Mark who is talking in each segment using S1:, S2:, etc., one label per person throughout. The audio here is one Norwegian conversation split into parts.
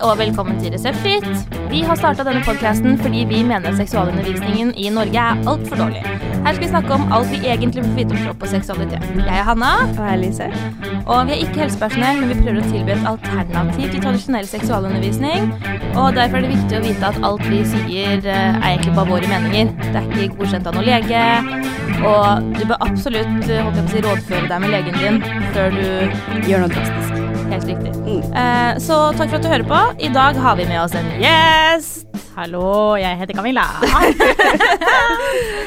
S1: og velkommen til Reseptfritt. Vi har starta denne podkasten fordi vi mener at seksualundervisningen i Norge er altfor dårlig. Her skal vi snakke om alt vi egentlig får vite om kropp og seksualitet. Jeg er Hanna,
S2: Og jeg er Lise.
S1: og vi er ikke helsepersonell, men vi prøver å tilby et alternativ til tradisjonell seksualundervisning. Og derfor er det viktig å vite at alt vi sier, eh, er egentlig bare våre meninger. Det er ikke godkjent av noen lege, og du bør absolutt eh, holdt jeg på å si, rådføre deg med legen din før du
S2: Gjør noe drastisk.
S1: Helt riktig.
S2: Mm.
S1: Eh, så takk for at du hører på. I dag har vi med oss en gjest.
S3: Hallo, jeg heter Camilla.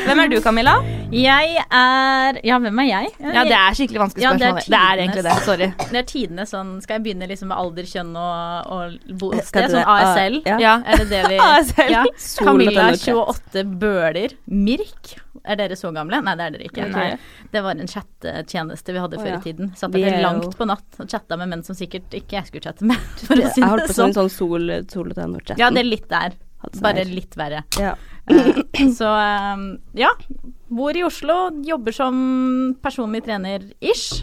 S1: Hvem er du, Camilla?
S3: Jeg er Ja, hvem er jeg?
S1: Ja, Det er skikkelig vanskelig
S3: Ja,
S1: spørsmål.
S3: det er
S1: det, er egentlig det.
S3: tidenes.
S1: Sorry.
S3: Det er tidenes sånn Skal jeg begynne liksom med alder, kjønn og, og
S2: Skal
S3: bosted?
S2: du det?
S3: Sånn ASL?
S2: Ah, ja.
S1: Ja.
S3: Er det det vi
S1: ASL.
S3: Ja.
S2: Sol og
S3: Camilla,
S2: penetrert.
S3: 28, Bøler, Mirk. Er dere så gamle? Nei, det er dere ikke.
S1: Nei.
S3: Det var en chattetjeneste vi hadde
S2: Å,
S3: før
S2: ja.
S3: i tiden. Satt
S2: Vi
S3: dere
S2: er jo-
S3: langt på natt og chatta med menn som sikkert ikke jeg skulle chatte med. For å si
S2: Jeg holdt
S3: det
S2: på
S3: sånn.
S2: sånn, sånn sol, sol og tenor-chatten.
S3: Ja, det er litt der.
S2: Hadde sånn
S3: Bare
S2: her.
S3: litt verre.
S2: Ja.
S3: Eh, Så eh, ja. Bor i Oslo, jobber som personlig trener ish.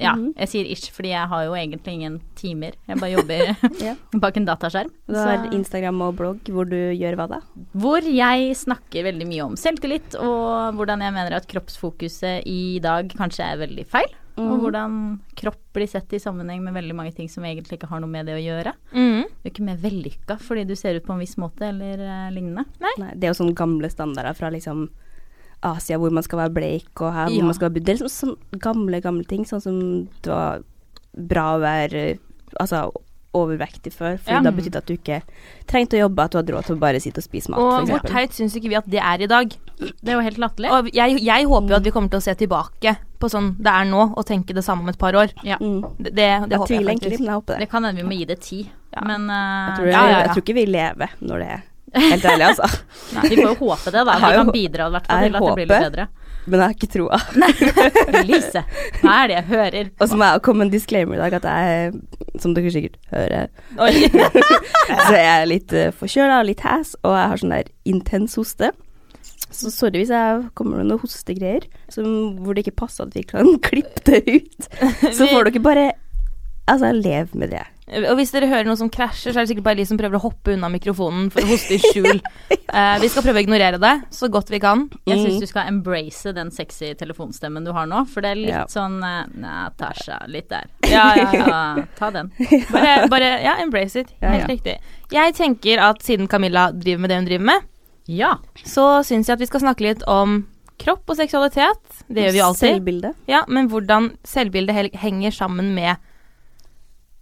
S3: Ja,
S2: Mhm.
S3: jeg sier ish fordi jeg har jo egentlig ingen timer. Jeg bare jobber
S2: Ja.
S3: bak en dataskjerm.
S2: Du har
S3: Så-
S2: Instagram og blogg hvor du gjør hva da?
S3: Hvor jeg snakker veldig mye om selvtillit og hvordan jeg mener at kroppsfokuset i dag kanskje er veldig feil.
S2: Mhm.
S3: Og hvordan kropp blir sett i sammenheng med veldig mange ting som egentlig ikke har noe med det å gjøre.
S1: Mm.
S3: Du er ikke mer vellykka fordi du ser ut på en viss måte eller eh, lignende.
S2: Nei, det er jo sånne gamle standarder fra liksom Asia, hvor man skal være bleik og her, hvor
S3: Ja.
S2: man skal være budd. Det er liksom sånne gamle, gamle ting, sånn som det var bra å være altså, overvektig før. For
S1: Ja.
S2: da betydde det at du ikke trengte å jobbe, at du hadde råd til å bare sitte og spise mat,
S1: Og
S2: for
S1: hvor
S2: eksempel.
S1: teit syns ikke vi at det er i dag?
S3: Det er jo helt latterlig.
S1: Og jeg, jeg håper jo at vi kommer til å se tilbake på sånn det er nå, og tenke det samme om et par år.
S3: Ja.
S2: Mm.
S1: Det, det, det
S2: Jeg
S1: håper jeg
S2: tviler egentlig,
S1: faktisk.
S2: men jeg håper det.
S3: Det kan hende vi må gi det ti.
S1: Ja.
S3: Men eh,
S2: Jeg tror,
S1: Ja, ja, ja.
S2: jeg tror ikke vi lever når det er helt ærlig, altså.
S3: vi får jo håpe det, da. Vi
S2: Jeg har jo-
S3: kan bidra i hvert fall
S2: jeg
S3: til at det blir litt bedre.
S2: Men jeg har ikke troa.
S3: Lise, hva er det jeg hører?
S2: Og så må jeg komme med en disclaimer i dag at jeg, som dere sikkert hører,
S1: Oi.
S2: så jeg er litt eh, forkjøla og litt hæs, og jeg har sånn der intens hoste. Så sorry hvis jeg kommer med noen hostegreier som, hvor det ikke passer at vi kan klippe det ut. Så får dere bare Altså, lev med det.
S1: Og hvis dere hører noe som krasjer, så er det sikkert bare de som prøver å hoppe unna mikrofonen for å hoste i skjul. Eh, vi skal prøve å ignorere det så godt vi kan.
S3: Jeg
S2: Mm.
S3: syns du skal embrace den sexy telefonstemmen du har nå, for det er litt
S2: Ja.
S3: sånn eh, Nei, Tasha, litt der.
S1: Ja, ja, ja.
S3: Så, ta den.
S1: Bare, bare ja, embrace it.
S2: Ja,
S1: Helt
S2: ja.
S1: riktig. Jeg tenker at siden Camilla driver med det hun driver med,
S3: Ja.
S1: så syns jeg at vi skal snakke litt om kropp og seksualitet. Det gjør vi jo alltid.
S2: Mm. Selvbilde.
S1: Ja, men hvordan selvbildet hel- henger sammen med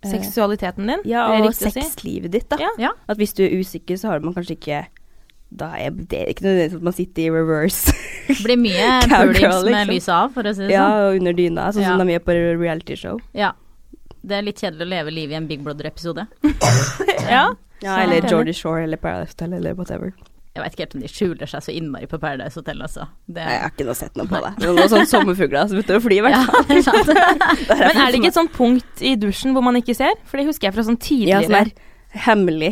S2: Eh,
S1: seksualiteten din.
S2: Ja,
S1: er det
S2: og
S1: riktig å si?
S2: sexlivet ditt, da.
S1: Ja.
S3: Ja.
S2: At hvis du er usikker, så har man kanskje ikke Da er det ikke nødvendigvis at man sitter i reverse.
S3: Det blir mye
S2: Cowgirl,
S3: pulings med
S2: liksom.
S3: lyset av, for å si det
S2: ja,
S3: sånn.
S2: og under dyna, sånn
S3: Ja.
S2: som de gjør på realityshow.
S3: Ja. Det er litt kjedelig å leve livet i en Big Brother-episode.
S1: Ja.
S2: Ja,
S3: Sånn
S1: Så-
S2: eller Jordy Shore eller Paradise Hotel eller whatever.
S3: Jeg veit ikke helt om de skjuler seg så innmari på Paradise Hotel, altså. Det,
S2: Nei, jeg har ikke noe sett noe på det. Det er noen sånne sommerfugler altså, som begynte å fly, i hvert
S3: ja,
S2: fall.
S3: det er sant.
S1: Men er det ikke et sånt punkt i dusjen hvor man ikke ser? For det husker jeg fra sånn
S2: Ja, sånn
S1: tidligere.
S2: her hemmelig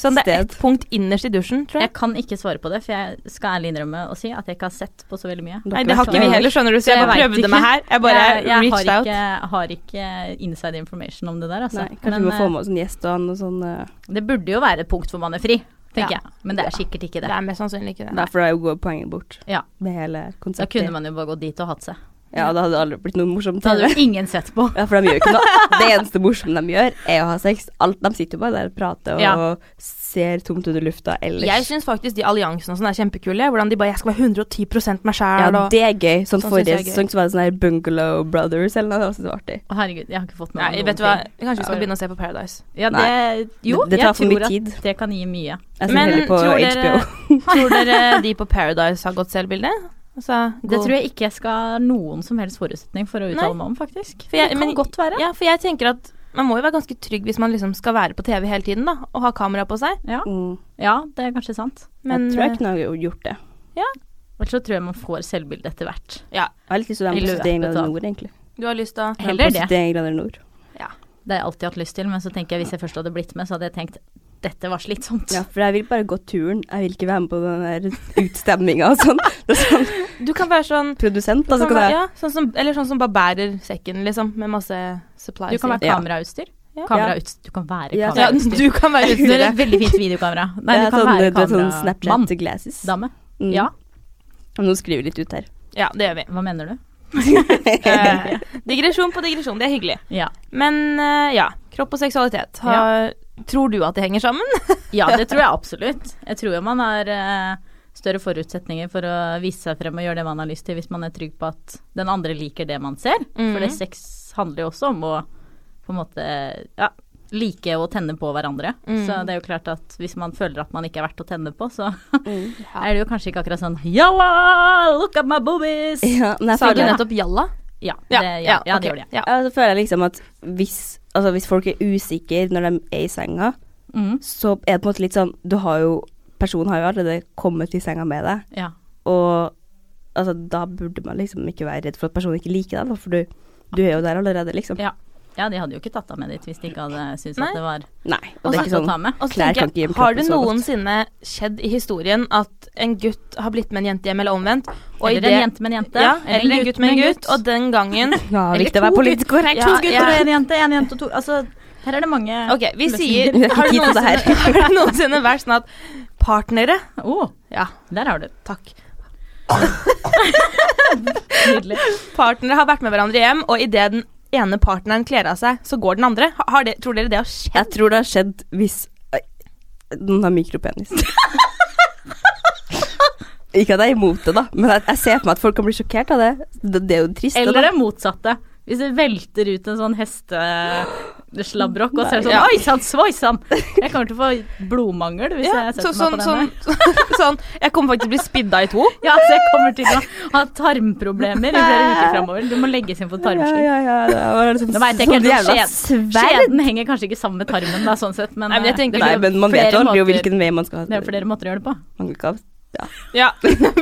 S1: sånn, det er
S2: sted.
S1: et punkt innerst i dusjen, tror jeg.
S3: Jeg kan ikke svare på det, for jeg skal ærlig innrømme å si at jeg ikke har sett på så veldig mye.
S2: Dere
S1: Nei, det har
S2: vet
S1: ikke vi heller, skjønner du, så jeg
S3: Jeg
S1: bare
S3: vet
S1: prøvde
S3: ikke.
S1: meg her. Jeg bare
S3: jeg, jeg
S1: reached
S3: har
S1: out.
S3: ikke, har ikke inside information om det der, altså.
S2: Nei, kanskje
S3: Men
S2: vi må få
S3: eh,
S2: med oss en gjest og han og sånn. eh,
S3: det burde jo være et punkt hvor man er fri, tenker
S1: Ja.
S3: jeg. Men det er sikkert ikke
S1: Det
S3: det.
S1: er mest sannsynlig ikke det.
S2: Derfor er jo gode poenget bort.
S3: Ja.
S2: Det hele
S3: Da
S2: konseptet.
S3: kunne man jo bare gått dit og hatt seg.
S2: Ja, det hadde aldri blitt noe morsomt.
S3: Det hadde jo ingen sett på.
S2: Ja, for de gjør jo ikke noe. Det eneste morsomme de gjør, er å ha sex. Alt, de sitter jo bare der og prater og
S3: Ja.
S2: ser tomt under lufta ellers.
S1: Jeg syns faktisk de alliansene og sånn er kjempekule. Hvordan de bare 'jeg skal være 110 meg sjæl'
S2: ja,
S1: og
S2: det er gøy. Sånn,
S1: Sånn synes
S2: forrige
S1: jeg er gøy.
S2: sesong så var det sånn her Bungalow Brothers eller noe. Det var også så artig.
S3: Å, herregud, jeg har ikke fått med meg
S1: Nei,
S3: noen
S1: vet du hva,
S3: ting.
S1: kanskje vi skal begynne å se på Paradise.
S3: Ja, det, jo,
S2: Det- det tar
S3: jeg
S2: for mye
S3: tror at
S2: tid.
S3: det kan gi mye.
S2: Jeg ser
S1: Men
S2: heller på
S1: tror dere-
S2: HBO.
S1: Tror dere de på Paradise har godt selvbilde? Altså,
S3: Det tror jeg ikke jeg skal ha noen som helst forutsetning for å uttale meg om, faktisk.
S1: For jeg-
S3: det kan
S1: men-
S3: godt være.
S1: Ja, for jeg tenker at man må jo være ganske trygg hvis man liksom skal være på TV hele tiden, da, og ha kamera på seg.
S3: Ja.
S2: Mm.
S3: ja, det er kanskje sant.
S1: Men eh,
S2: jeg tror jeg kunne ha gjort det.
S3: Ellers så tror jeg man får selvbilde etter hvert.
S2: Jeg har litt lyst til å
S3: I
S2: være med på 71
S3: løpet
S2: grader
S3: av-
S2: nord, egentlig.
S1: du har lyst til å
S2: Være med
S3: Heller
S2: på
S3: det.
S2: 71 grader nord.
S3: Det har jeg alltid hatt lyst til, men så tenker jeg hvis jeg først hadde blitt med, så hadde jeg tenkt dette var slitsomt.
S2: Ja, for jeg vil bare gå turen. Jeg vil ikke være med på den der utstemminga og sånn. Det er sånn
S1: Du kan være sånn
S2: produsent, da,
S1: Sånn,
S2: så kan jeg
S1: ja, sånn som, eller sånn som bare bærer sekken, liksom, med masse supplies.
S3: Du
S1: i.
S3: kan være
S2: Ja.
S3: kamerautstyr.
S1: Ja.
S3: Kamerautstyr. Du kan være
S2: Ja.
S1: Ja,
S3: kamerautstyr.
S1: du kan være
S3: Du har et
S1: utstyret.
S3: veldig fint videokamera. Nei,
S2: Det
S3: du
S2: er
S3: kan
S2: sånn,
S3: være
S2: du er sånn
S3: kameramann.
S2: Snapchat glasses.
S3: Dame.
S2: Mm.
S3: Ja,
S2: Men Nå skriver vi litt ut her.
S1: Ja, det gjør vi.
S3: hva mener du?
S1: Eh, digresjon på digresjon, det er hyggelig.
S3: Ja,
S1: Men eh, ja, kropp og seksualitet. Har, Tror du at det henger sammen?
S3: ja det tror jeg absolutt. Jeg tror jo man har eh, større forutsetninger for å vise seg frem og gjøre det man har lyst til, hvis man er trygg på at den andre liker det man ser. For det
S1: Mhm.
S3: sex handler jo også om å på en måte ja, like å tenne på hverandre.
S1: Mhm.
S3: Så det er jo klart at hvis man føler at man ikke er verdt å tenne på, så
S2: Mm.
S3: er det jo kanskje ikke akkurat sånn Yalla, look at my boobies!
S2: Ja, men jeg
S1: Sa du
S2: føler-
S1: nettopp jalla?
S3: Ja, det, ja, ja,
S1: ok.
S3: det gjør det.
S1: Ja.
S2: Ja, så føler jeg liksom at hvis, altså hvis folk er usikre når de er i senga,
S3: Mhm,
S2: så er det på en måte litt sånn Du har jo Personen har jo allerede kommet i senga med deg,
S3: ja.
S2: og altså, da burde man liksom ikke være redd for at personen ikke liker deg, da, for du, du er jo der allerede, liksom.
S3: Ja. ja, de hadde jo ikke tatt av med ditt hvis de ikke hadde syntes
S1: Nei.
S3: at det var
S2: Nei. Og
S3: Og
S2: det
S3: så
S2: er ikke
S3: å ta
S2: sånn
S3: med.
S1: Og så
S2: Klær
S1: tenker
S2: kan ikke
S1: jeg,
S2: gjemme
S1: har det
S2: kroppen så godt.
S1: noensinne skjedd i historien at en gutt har blitt med en jente hjem, eller omvendt? og i
S3: Eller
S1: det-
S3: en jente med en jente.
S1: Ja, eller en gutt med en gutt, og den gangen
S2: Ja,
S3: Eller
S2: viktig å være
S3: to
S2: politisk korrekt.
S1: Ja,
S3: to gutter
S1: ja.
S3: og en jente, en jente og to Altså, her er det mange
S1: Ok, vi sier
S2: Vi har ikke
S1: Har det
S2: tid til det her.
S1: noensinne, har det noensinne vært sånn at partnere
S3: Å,
S1: Ja,
S3: der har du det.
S1: takk.
S3: Nydelig.
S1: Partnere har vært med hverandre hjem, og idet den ene partneren kler av seg, så går den andre. Ha- Har det, tror dere det har skjedd?
S2: Jeg tror det har skjedd hvis Oi, noen har mikropenis. Ikke at jeg er imot det, da, men jeg, jeg ser for meg at folk kan bli sjokkert av det. Det, det er jo trist.
S3: Eller
S2: det,
S3: det motsatte. Hvis det velter ut en sånn hesteslabbrokk, og så er det
S1: Nei.
S3: sånn Oi sann, svoi sann! Jeg kommer til å få blodmangel hvis
S1: Ja,
S3: jeg
S1: så,
S3: setter meg
S1: sånn,
S3: på
S1: sånn,
S3: denne.
S1: sånn Jeg kommer faktisk til å bli spidda i to.
S3: Ja, så jeg kommer til å ha tarmproblemer i flere uker framover. Du må legges inn på
S2: da. Ja,
S3: tarmslipp.
S2: ja, ja, det var liksom,
S3: Nå vet jeg ikke
S2: sånn
S3: helt om
S2: jævla
S3: skjeden, skjeden henger kanskje ikke sammen med tarmen, da, sånn sett, men,
S1: Nei, men jeg
S3: eh,
S1: tenker-
S3: det
S2: Nei,
S3: blir
S2: men man vet
S3: flere
S2: jo aldri jo
S3: måter-
S2: hvilken vei man skal ha
S3: Det er flere måter å gjøre det på.
S2: Man kan ikke
S1: Ja.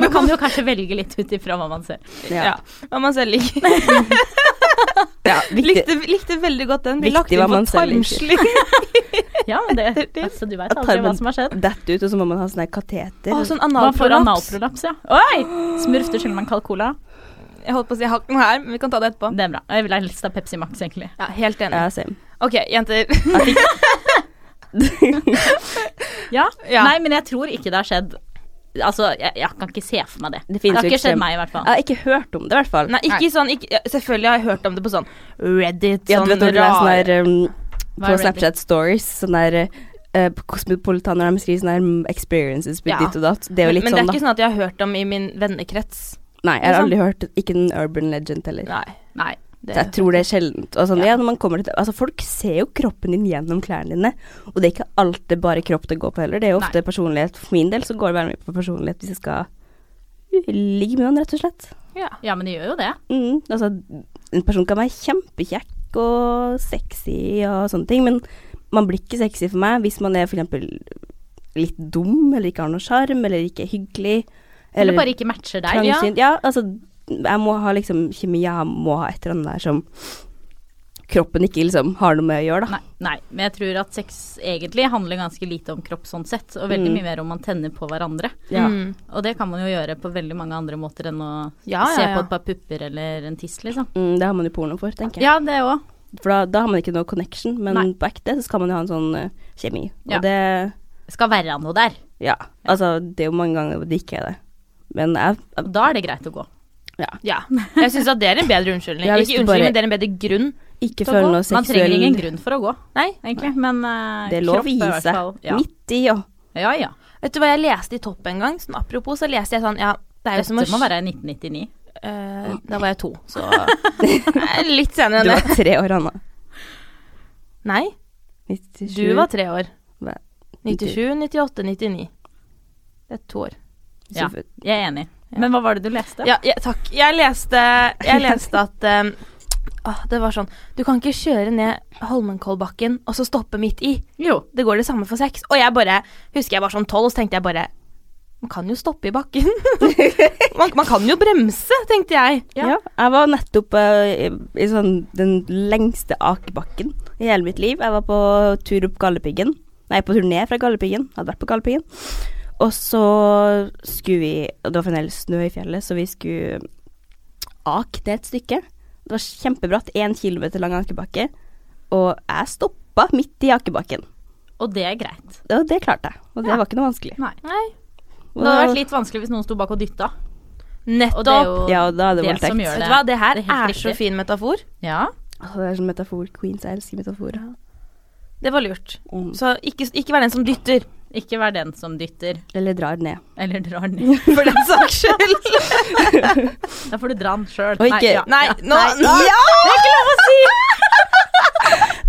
S3: Man kan jo kanskje velge litt ut ifra hva man ser.
S2: ha
S1: ja. Hva man selv liker.
S2: Ja, viktig.
S1: Likte, likte veldig godt liksom. den. Blir
S2: Viktig
S1: lagt inn
S2: hva
S1: på
S2: man selv liker.
S1: tarmslig.
S3: Ja, men det, altså, du veit aldri hva som har skjedd.
S2: Dette ut, og så må man ha sånn her kateter.
S1: Å, sånn
S3: Man får
S1: analprolaps.
S3: analprolaps, ja. Oi! Smurf, du skylder meg en kald cola.
S1: Jeg holdt på å si jeg har ikke noe her, men vi kan ta det etterpå.
S3: Det er bra. Jeg ville helst ha Pepsi Max, egentlig.
S1: Ja, helt enig.
S2: Ja, same.
S1: Ok, jenter.
S3: Ja.
S1: Ja.
S3: Nei, men jeg tror ikke det har skjedd. Altså, jeg, jeg kan ikke se for meg det.
S2: Det
S3: Det
S2: finnes
S3: har
S2: jo
S3: ikke skjedd
S2: ekstrem- Ah.
S3: meg, i hvert
S2: Jeg
S3: fall.
S2: har ikke hørt om det, i hvert fall.
S1: Nei, ikke sånn ikke, ja, Selvfølgelig har jeg hørt om det på sånn Reddit,
S2: Ja,
S1: sånn
S2: du vet når det er sånn
S1: rar
S2: her um,
S3: Hva er
S2: på
S3: Reddit?
S2: Snapchat Stories, sånn der eh, på Cosmopolitaner de skriver sånn her mm, 'experiences with
S1: Ja.
S2: ditt og datt'. Det er jo
S1: Men,
S2: litt
S1: men det
S2: sånn,
S1: er
S2: da.
S1: ikke sånn at jeg har hørt om i min vennekrets.
S2: Nei, jeg har
S1: sånn-
S2: aldri hørt Ikke en urban legend heller.
S1: Nei.
S3: Nei.
S1: Det,
S2: Så jeg tror det er sjeldent. Og sånn,
S1: Ja.
S2: ja, når man kommer til, altså, folk ser jo kroppen din gjennom klærne dine, og det er ikke alltid bare kropp det går på heller. Det er jo ofte personlighet. For min del så går det veldig mye på personlighet hvis jeg skal ligge med noen, rett og slett.
S1: ja.
S3: Ja, men det gjør jo det.
S2: Mm, altså, en person kan være kjempekjekk og sexy og sånne ting, men man blir ikke sexy for meg hvis man er f.eks. litt dum, eller ikke har noe sjarm, eller ikke er hyggelig.
S3: Eller bare ikke matcher deg. Ja.
S2: trangsynt. Ja, altså, jeg må ha liksom kjemi, jeg må ha et eller annet der som kroppen ikke liksom har noe med å gjøre, da.
S3: Nei, nei, men jeg tror at sex egentlig handler ganske lite om kropp sånn sett, og veldig
S2: Mm.
S3: mye mer om man tenner på hverandre.
S2: Ja.
S1: Mm.
S3: Og det kan man jo gjøre på veldig mange andre måter enn å
S1: Ja, ja,
S3: se
S1: ja.
S3: på et par pupper eller en tiss, liksom.
S2: Mm, det har man jo porno for, tenker jeg.
S3: Ja, det òg.
S2: For da, da har man ikke noe connection, men
S3: Nei.
S2: på ekte så skal man jo ha en sånn eh, kjemi. Og
S3: Ja.
S2: det
S3: Skal være noe der.
S2: Ja. Altså, det er jo mange ganger det ikke er det. Men jeg, jeg
S3: Da er det greit å gå.
S1: ja. Jeg syns at det er en bedre unnskyldning.
S2: Ja, hvis
S1: ikke
S2: du
S1: unnskyldning, men
S2: bare-
S1: det er en bedre grunn.
S2: Ikke
S1: Så
S2: føle
S1: godt.
S2: noe
S3: Man trenger ingen
S2: seksuell
S3: grunn for å gå,
S1: Nei.
S3: egentlig, men eh,
S2: Det er lov å
S3: kropp
S2: gi
S3: i hvert
S2: seg.
S3: fall- Ja.
S2: Midt i, ja.
S3: ja, ja.
S1: Vet du hva jeg leste i Topp en gang? Sånn, apropos, så leste jeg sånn Ja, det er jo
S3: Dette
S1: som å
S3: må være 1999.
S1: Eh, Da var jeg to, så Eh, Litt senere
S2: Du
S1: enn det.
S2: var tre år, Anna.
S1: Nei,
S2: 97.
S1: du var tre år.
S2: Hva?
S1: 97, 98, 99. Det er to år.
S3: Ja. Jeg er enig. Men hva var det du leste?
S1: Ja, ja, takk. Jeg leste, jeg leste at eh, åh, Det var sånn Du kan ikke kjøre ned Holmenkollbakken og så stoppe midt i.
S3: Jo.
S1: Det går det samme for sex. Og jeg bare Husker jeg var sånn tolv, så tenkte jeg bare Man kan jo stoppe i bakken. man, man kan jo bremse, tenkte jeg.
S2: Ja. Jeg var nettopp eh, i, i sånn den lengste akebakken i hele mitt liv. Jeg var på tur opp Galdhøpiggen. Nei, på turné fra Galdhøpiggen. Hadde vært på Galdhøpiggen. Og så skulle vi Og det var fremdeles snø i fjellet, så vi skulle ake ned et stykke. Det var kjempebratt. Én kilometer lang akebakke. og jeg stoppa midt i jakebakken.
S3: Og det er greit.
S2: Og det klarte jeg, og det
S3: Ja.
S2: var ikke noe vanskelig.
S3: Nei.
S1: Nei.
S3: Det hadde vært litt vanskelig hvis noen sto bak og dytta. Og det er
S1: Nettopp.
S3: jo
S2: Ja, og da er det
S3: det som
S2: voldtekt.
S3: gjør
S1: Vet
S3: det.
S1: du hva, det her
S3: Det
S1: er,
S3: er helt
S1: så
S3: riktig.
S1: fin metafor.
S3: Ja.
S2: Åh, det er sånn metafor. Queens, jeg elsker metaforer.
S1: Det var lurt.
S2: Mm.
S1: Så ikke, ikke vær den som dytter,
S3: Ikke vær den som dytter
S2: Eller drar ned.
S3: eller drar ned.
S1: for den saks skyld.
S3: Da får du dra den sjøl.
S2: Og ikke-
S3: ja.
S1: Nei, nå
S2: nå-
S1: Ja! Det er ikke lov å si!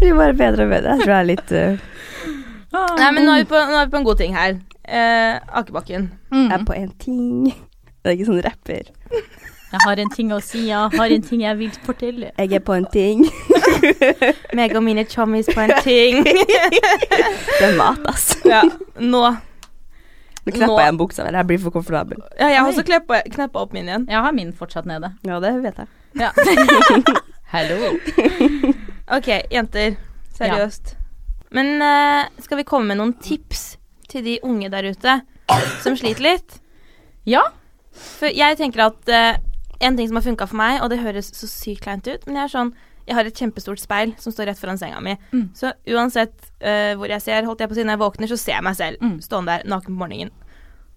S2: Det blir bare bedre og bedre. Jeg tror jeg er litt eh,
S3: Ah.
S1: Nei, men nå er vi på, nå er vi på en god ting her. Eh, Akebakken.
S2: Jeg er på en ting. Det er ikke sånn rapper.
S3: Jeg har en ting å si, jeg har en ting jeg vil fortelle.
S2: Jeg er på en ting.
S1: Meg og mine chommies på en ting.
S2: Det er mat, ass.
S1: ja, nå.
S2: Nå kneppa
S1: Nå-
S2: jeg en buksa der. Jeg blir for komfortabel.
S1: Ja, jeg har også kneppa kneppa opp min igjen.
S3: Jeg har min fortsatt nede.
S2: Ja, det vet jeg.
S1: Ja.
S3: Hallo.
S1: Ok, jenter. Seriøst. Men eh, skal vi komme med noen tips til de unge der ute som sliter litt?
S3: Ja.
S1: For jeg tenker at eh, en ting som har funka for meg, og det høres så sykt kleint ut, men jeg er sånn jeg har et kjempestort speil som står rett foran senga mi.
S3: Mm.
S1: Så uansett eh, hvor jeg ser, holdt jeg på å si, når jeg våkner, så ser jeg meg selv
S3: Mm.
S1: stående der naken på morgenen.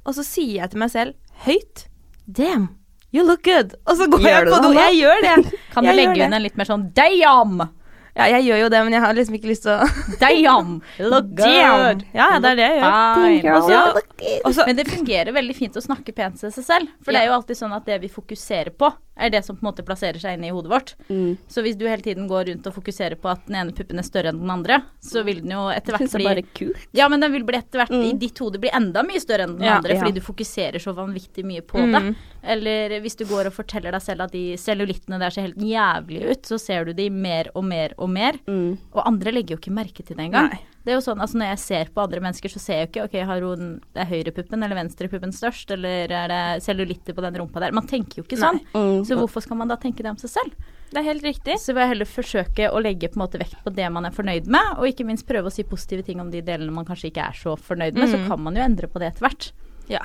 S1: Og så sier jeg til meg selv høyt Damn, you look good. Og så går
S2: Gjør
S1: jeg
S2: du
S1: på
S2: det
S1: do.
S2: da?
S1: Jeg gjør det.
S3: Kan
S1: Jeg
S3: du
S1: gjør
S3: legge
S1: det.
S3: inn en litt mer sånn damn?
S1: Ja, jeg gjør jo det, men jeg har liksom ikke lyst til å
S3: Damn! Look
S1: Damn.
S3: good!
S1: Ja, det er det jeg gjør.
S3: Fine.
S2: Girl,
S3: Ja.
S2: you look good.
S1: Og så
S3: Men det fungerer veldig fint å snakke pent til seg selv. For det er jo alltid sånn at det vi fokuserer på, er det som på en måte plasserer seg inne i hodet vårt.
S2: Mm.
S3: Så hvis du hele tiden går rundt og fokuserer på at den ene puppen er større enn den andre, så vil den jo etter
S2: Jeg
S3: hvert
S2: syns det
S3: bli
S2: er bare kult.
S3: Ja, men den vil bli etter hvert
S2: Mm.
S3: i ditt hode bli enda mye større enn den
S1: Ja,
S3: andre,
S2: ja.
S3: fordi du fokuserer så vanvittig mye på det.
S1: Mm.
S3: Eller hvis du går og forteller deg selv at de cellulittene der ser helt jævlig ut, så ser du de mer og mer og mer.
S2: Mm.
S3: Og andre legger jo ikke merke til det engang.
S1: Nei.
S3: Det er jo sånn, altså Når jeg ser på andre mennesker, så ser jeg jo ikke ok, har hun er høyrepuppen eller venstrepuppen størst, eller er det cellulitter på den rumpa der. Man tenker jo ikke sånn.
S2: Mm.
S3: Så hvorfor skal man da tenke det om seg selv?
S1: Det er helt riktig.
S3: Så vil jeg heller forsøke å legge på en måte vekt på det man er fornøyd med, og ikke minst prøve å si positive ting om de delene man kanskje ikke er så fornøyd med. Så
S1: Mm.
S3: kan man jo endre på det etter hvert.
S1: Ja.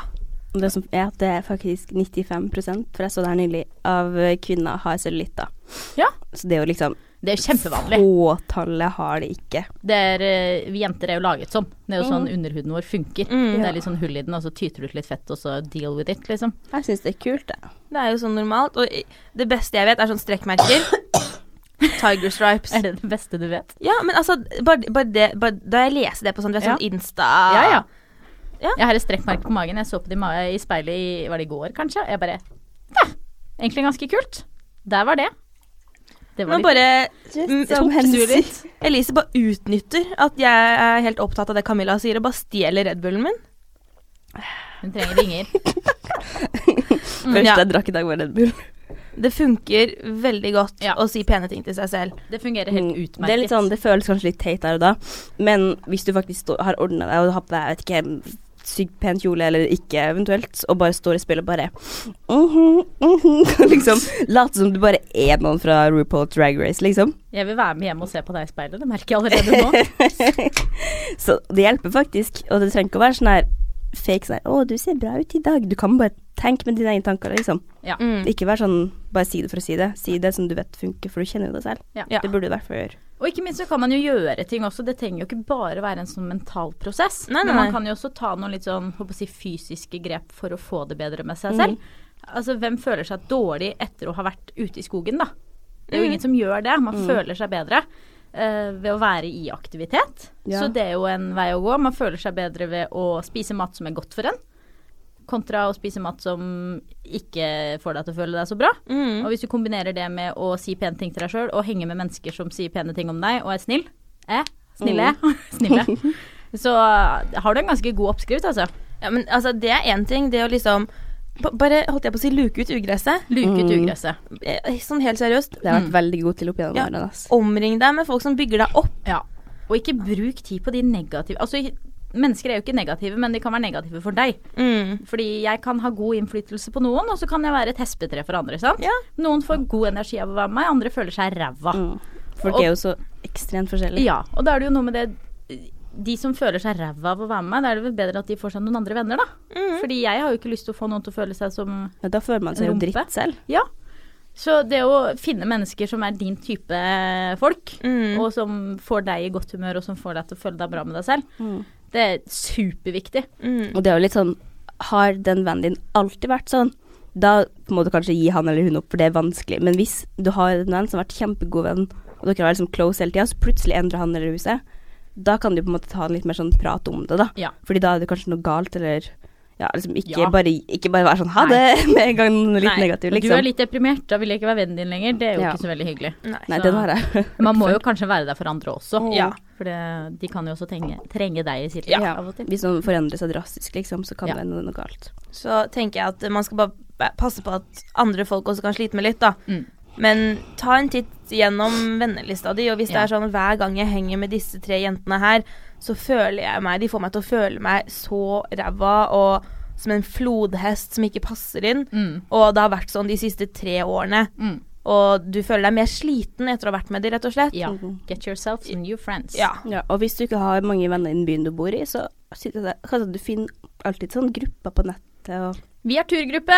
S2: Og Det som er at det er faktisk 95 for jeg så det her nylig, av kvinner har cellulitter.
S3: Ja. Oh.
S2: Så det er jo liksom
S3: Det er jo kjempevanlig.
S2: Fåtallet har det ikke.
S3: Det er, eh, vi jenter er jo laget sånn. Det er jo sånn underhuden vår funker.
S1: Mm.
S3: Det er litt sånn hull i den, og så tyter du ut litt fett, og så deal with it, liksom.
S2: Jeg syns det er kult, jeg.
S1: Det er jo sånn normalt. Og i- det beste jeg vet, er sånn strekkmerker. Tiger stripes.
S3: Er det det beste du vet?
S1: Ja, men altså, bare, bare det bare, Da jeg leser det på sånn, det er sånn Insta
S3: Ja, ja.
S1: Ja.
S3: Jeg har et strekkmerke på magen. Jeg så på det i ma- i speilet i, var det i går, kanskje. Jeg bare Ja, egentlig ganske kult. Der var det. Det var
S1: Men
S3: litt
S1: bare mm,
S2: Just
S1: tok
S2: some
S1: du
S2: hensikt.
S1: litt? Elise bare utnytter at jeg er helt opptatt av det Camilla sier, og bare stjeler Red Bullen min.
S3: Hun trenger vinger. Mm.
S2: Første
S1: ja.
S2: jeg drakk i dag, var Red Bull.
S1: Det funker veldig godt
S3: Ja.
S1: å si pene ting til seg selv.
S3: Det fungerer helt utmerket.
S2: Det er litt sånn, det føles kanskje litt teit der og da, men hvis du faktisk står- har ordna deg og har på deg jeg vet ikke, en sykt pen kjole eller ikke eventuelt, og bare står i spillet og bare mhm, mhm, Liksom late som du bare er noen fra RuPaul Drag Race, liksom.
S3: Jeg vil være med hjem og se på deg i speilet, det merker jeg allerede nå.
S2: Så det hjelper faktisk, og det trenger ikke å være sånn her fake sånn her 'Å, du ser bra ut i dag.' Du kan bare tenke med dine egne tanker, liksom.
S3: Ja.
S1: Mm.
S2: Ikke være sånn bare si det for å si det. Si det som du vet funker, for du kjenner jo det selv.
S3: Ja.
S1: Ja.
S2: Det burde du i hvert fall gjøre.
S3: Og ikke minst så kan man jo gjøre ting også. Det trenger jo ikke bare være en sånn mental prosess.
S1: Nei, nei,
S3: Men man
S1: nei.
S3: kan jo også ta noen litt sånn håper å si, fysiske grep for å få det bedre med seg
S2: Mm.
S3: selv. Altså, hvem føler seg dårlig etter å ha vært ute i skogen, da? Det er
S2: Mm.
S3: jo ingen som gjør det. Man føler seg bedre eh, ved å være i aktivitet.
S2: Ja.
S3: Så det er jo en vei å gå. Man føler seg bedre ved å spise mat som er godt for en, kontra å spise mat som ikke får deg til å føle deg så bra.
S1: Mm.
S3: Og hvis du kombinerer det med å si pene ting til deg sjøl, og henge med mennesker som sier pene ting om deg, og er snill eh, Snille. snille. Så eh, har du en ganske god oppskrift, altså.
S1: Ja, men altså, det er én ting. Det å liksom ba- Bare, holdt jeg på å si, luke ut ugresset.
S3: Luke ut
S2: Mm.
S3: ugresset.
S1: Eh, Sånn helt seriøst.
S2: Det har vært
S3: Mm.
S2: veldig god til opp gjennom
S1: Ja.
S2: årene. ass.
S1: Omring deg med folk som bygger deg opp.
S3: Ja. Og ikke bruk tid på de negative Altså, i- mennesker er jo ikke negative, men de kan være negative for deg.
S1: Mm.
S3: Fordi jeg kan ha god innflytelse på noen, og så kan jeg være et hespetre for andre. sant?
S1: Ja.
S3: Noen får god energi av å være med meg, andre føler seg ræva.
S2: Mm. Folk
S3: Og-
S2: er jo så ekstremt forskjellige.
S3: Ja, og da er det jo noe med det De som føler seg ræva av å være med meg, da er det vel bedre at de får seg noen andre venner, da.
S2: Mm.
S3: Fordi jeg har jo ikke lyst til å få noen til å føle seg som
S2: Men Da føler man seg jo
S3: Rumpe.
S2: dritt selv.
S3: Ja. Så det å finne mennesker som er din type folk,
S1: Mm.
S3: og som får deg i godt humør, og som får deg til å føle deg bra med deg selv,
S2: Mm.
S3: det er superviktig.
S1: Mm.
S2: Og det er jo litt sånn Har den vennen din alltid vært sånn? Da må du kanskje gi han eller hun opp, for det er vanskelig. Men hvis du har en venn som har vært kjempegod venn, og dere har vært liksom close hele tida, så plutselig endrer han eller hun seg, da kan du på en måte ta en litt mer sånn prat om det, da.
S3: Ja.
S2: Fordi da er det kanskje noe galt, eller ja, liksom ikke,
S3: Ja.
S2: bare, ikke bare være sånn ha det med en gang noe litt
S3: Nei,
S2: negativt,
S3: Du er
S2: liksom.
S3: litt deprimert, da vil jeg ikke være vennen din lenger. Det er jo
S2: Ja.
S3: ikke så veldig hyggelig.
S1: Nei.
S2: Nei,
S3: så-
S2: den har jeg.
S3: Man må jo kanskje være der for andre også.
S1: Ja.
S3: For det, de kan jo også trenge, trenge deg i sitt liv
S2: Ja.
S3: av og til.
S2: Hvis noen forandrer seg drastisk, liksom, så kan
S3: Ja.
S2: det hende noe galt.
S1: Så tenker jeg at man skal bare ba- passe på at andre folk også kan slite med litt, da.
S3: Mm.
S1: Men ta en titt gjennom vennelista di, og hvis det
S3: Ja.
S1: er sånn hver gang jeg henger med disse tre jentene her, så føler jeg meg De får meg til å føle meg så ræva og som en flodhest som ikke passer inn.
S3: Mm.
S1: Og det har vært sånn de siste tre årene.
S3: Mm.
S1: Og du føler deg mer sliten etter å ha vært med de, rett og slett.
S3: Ja.
S2: Mhm.
S3: Get yourself some new friends.
S1: Ja.
S2: Ja, og hvis du ikke har mange venner i den byen du bor i, så sitter det, kanskje du finner alltid sånn grupper på nettet og
S3: Vi er turgruppe.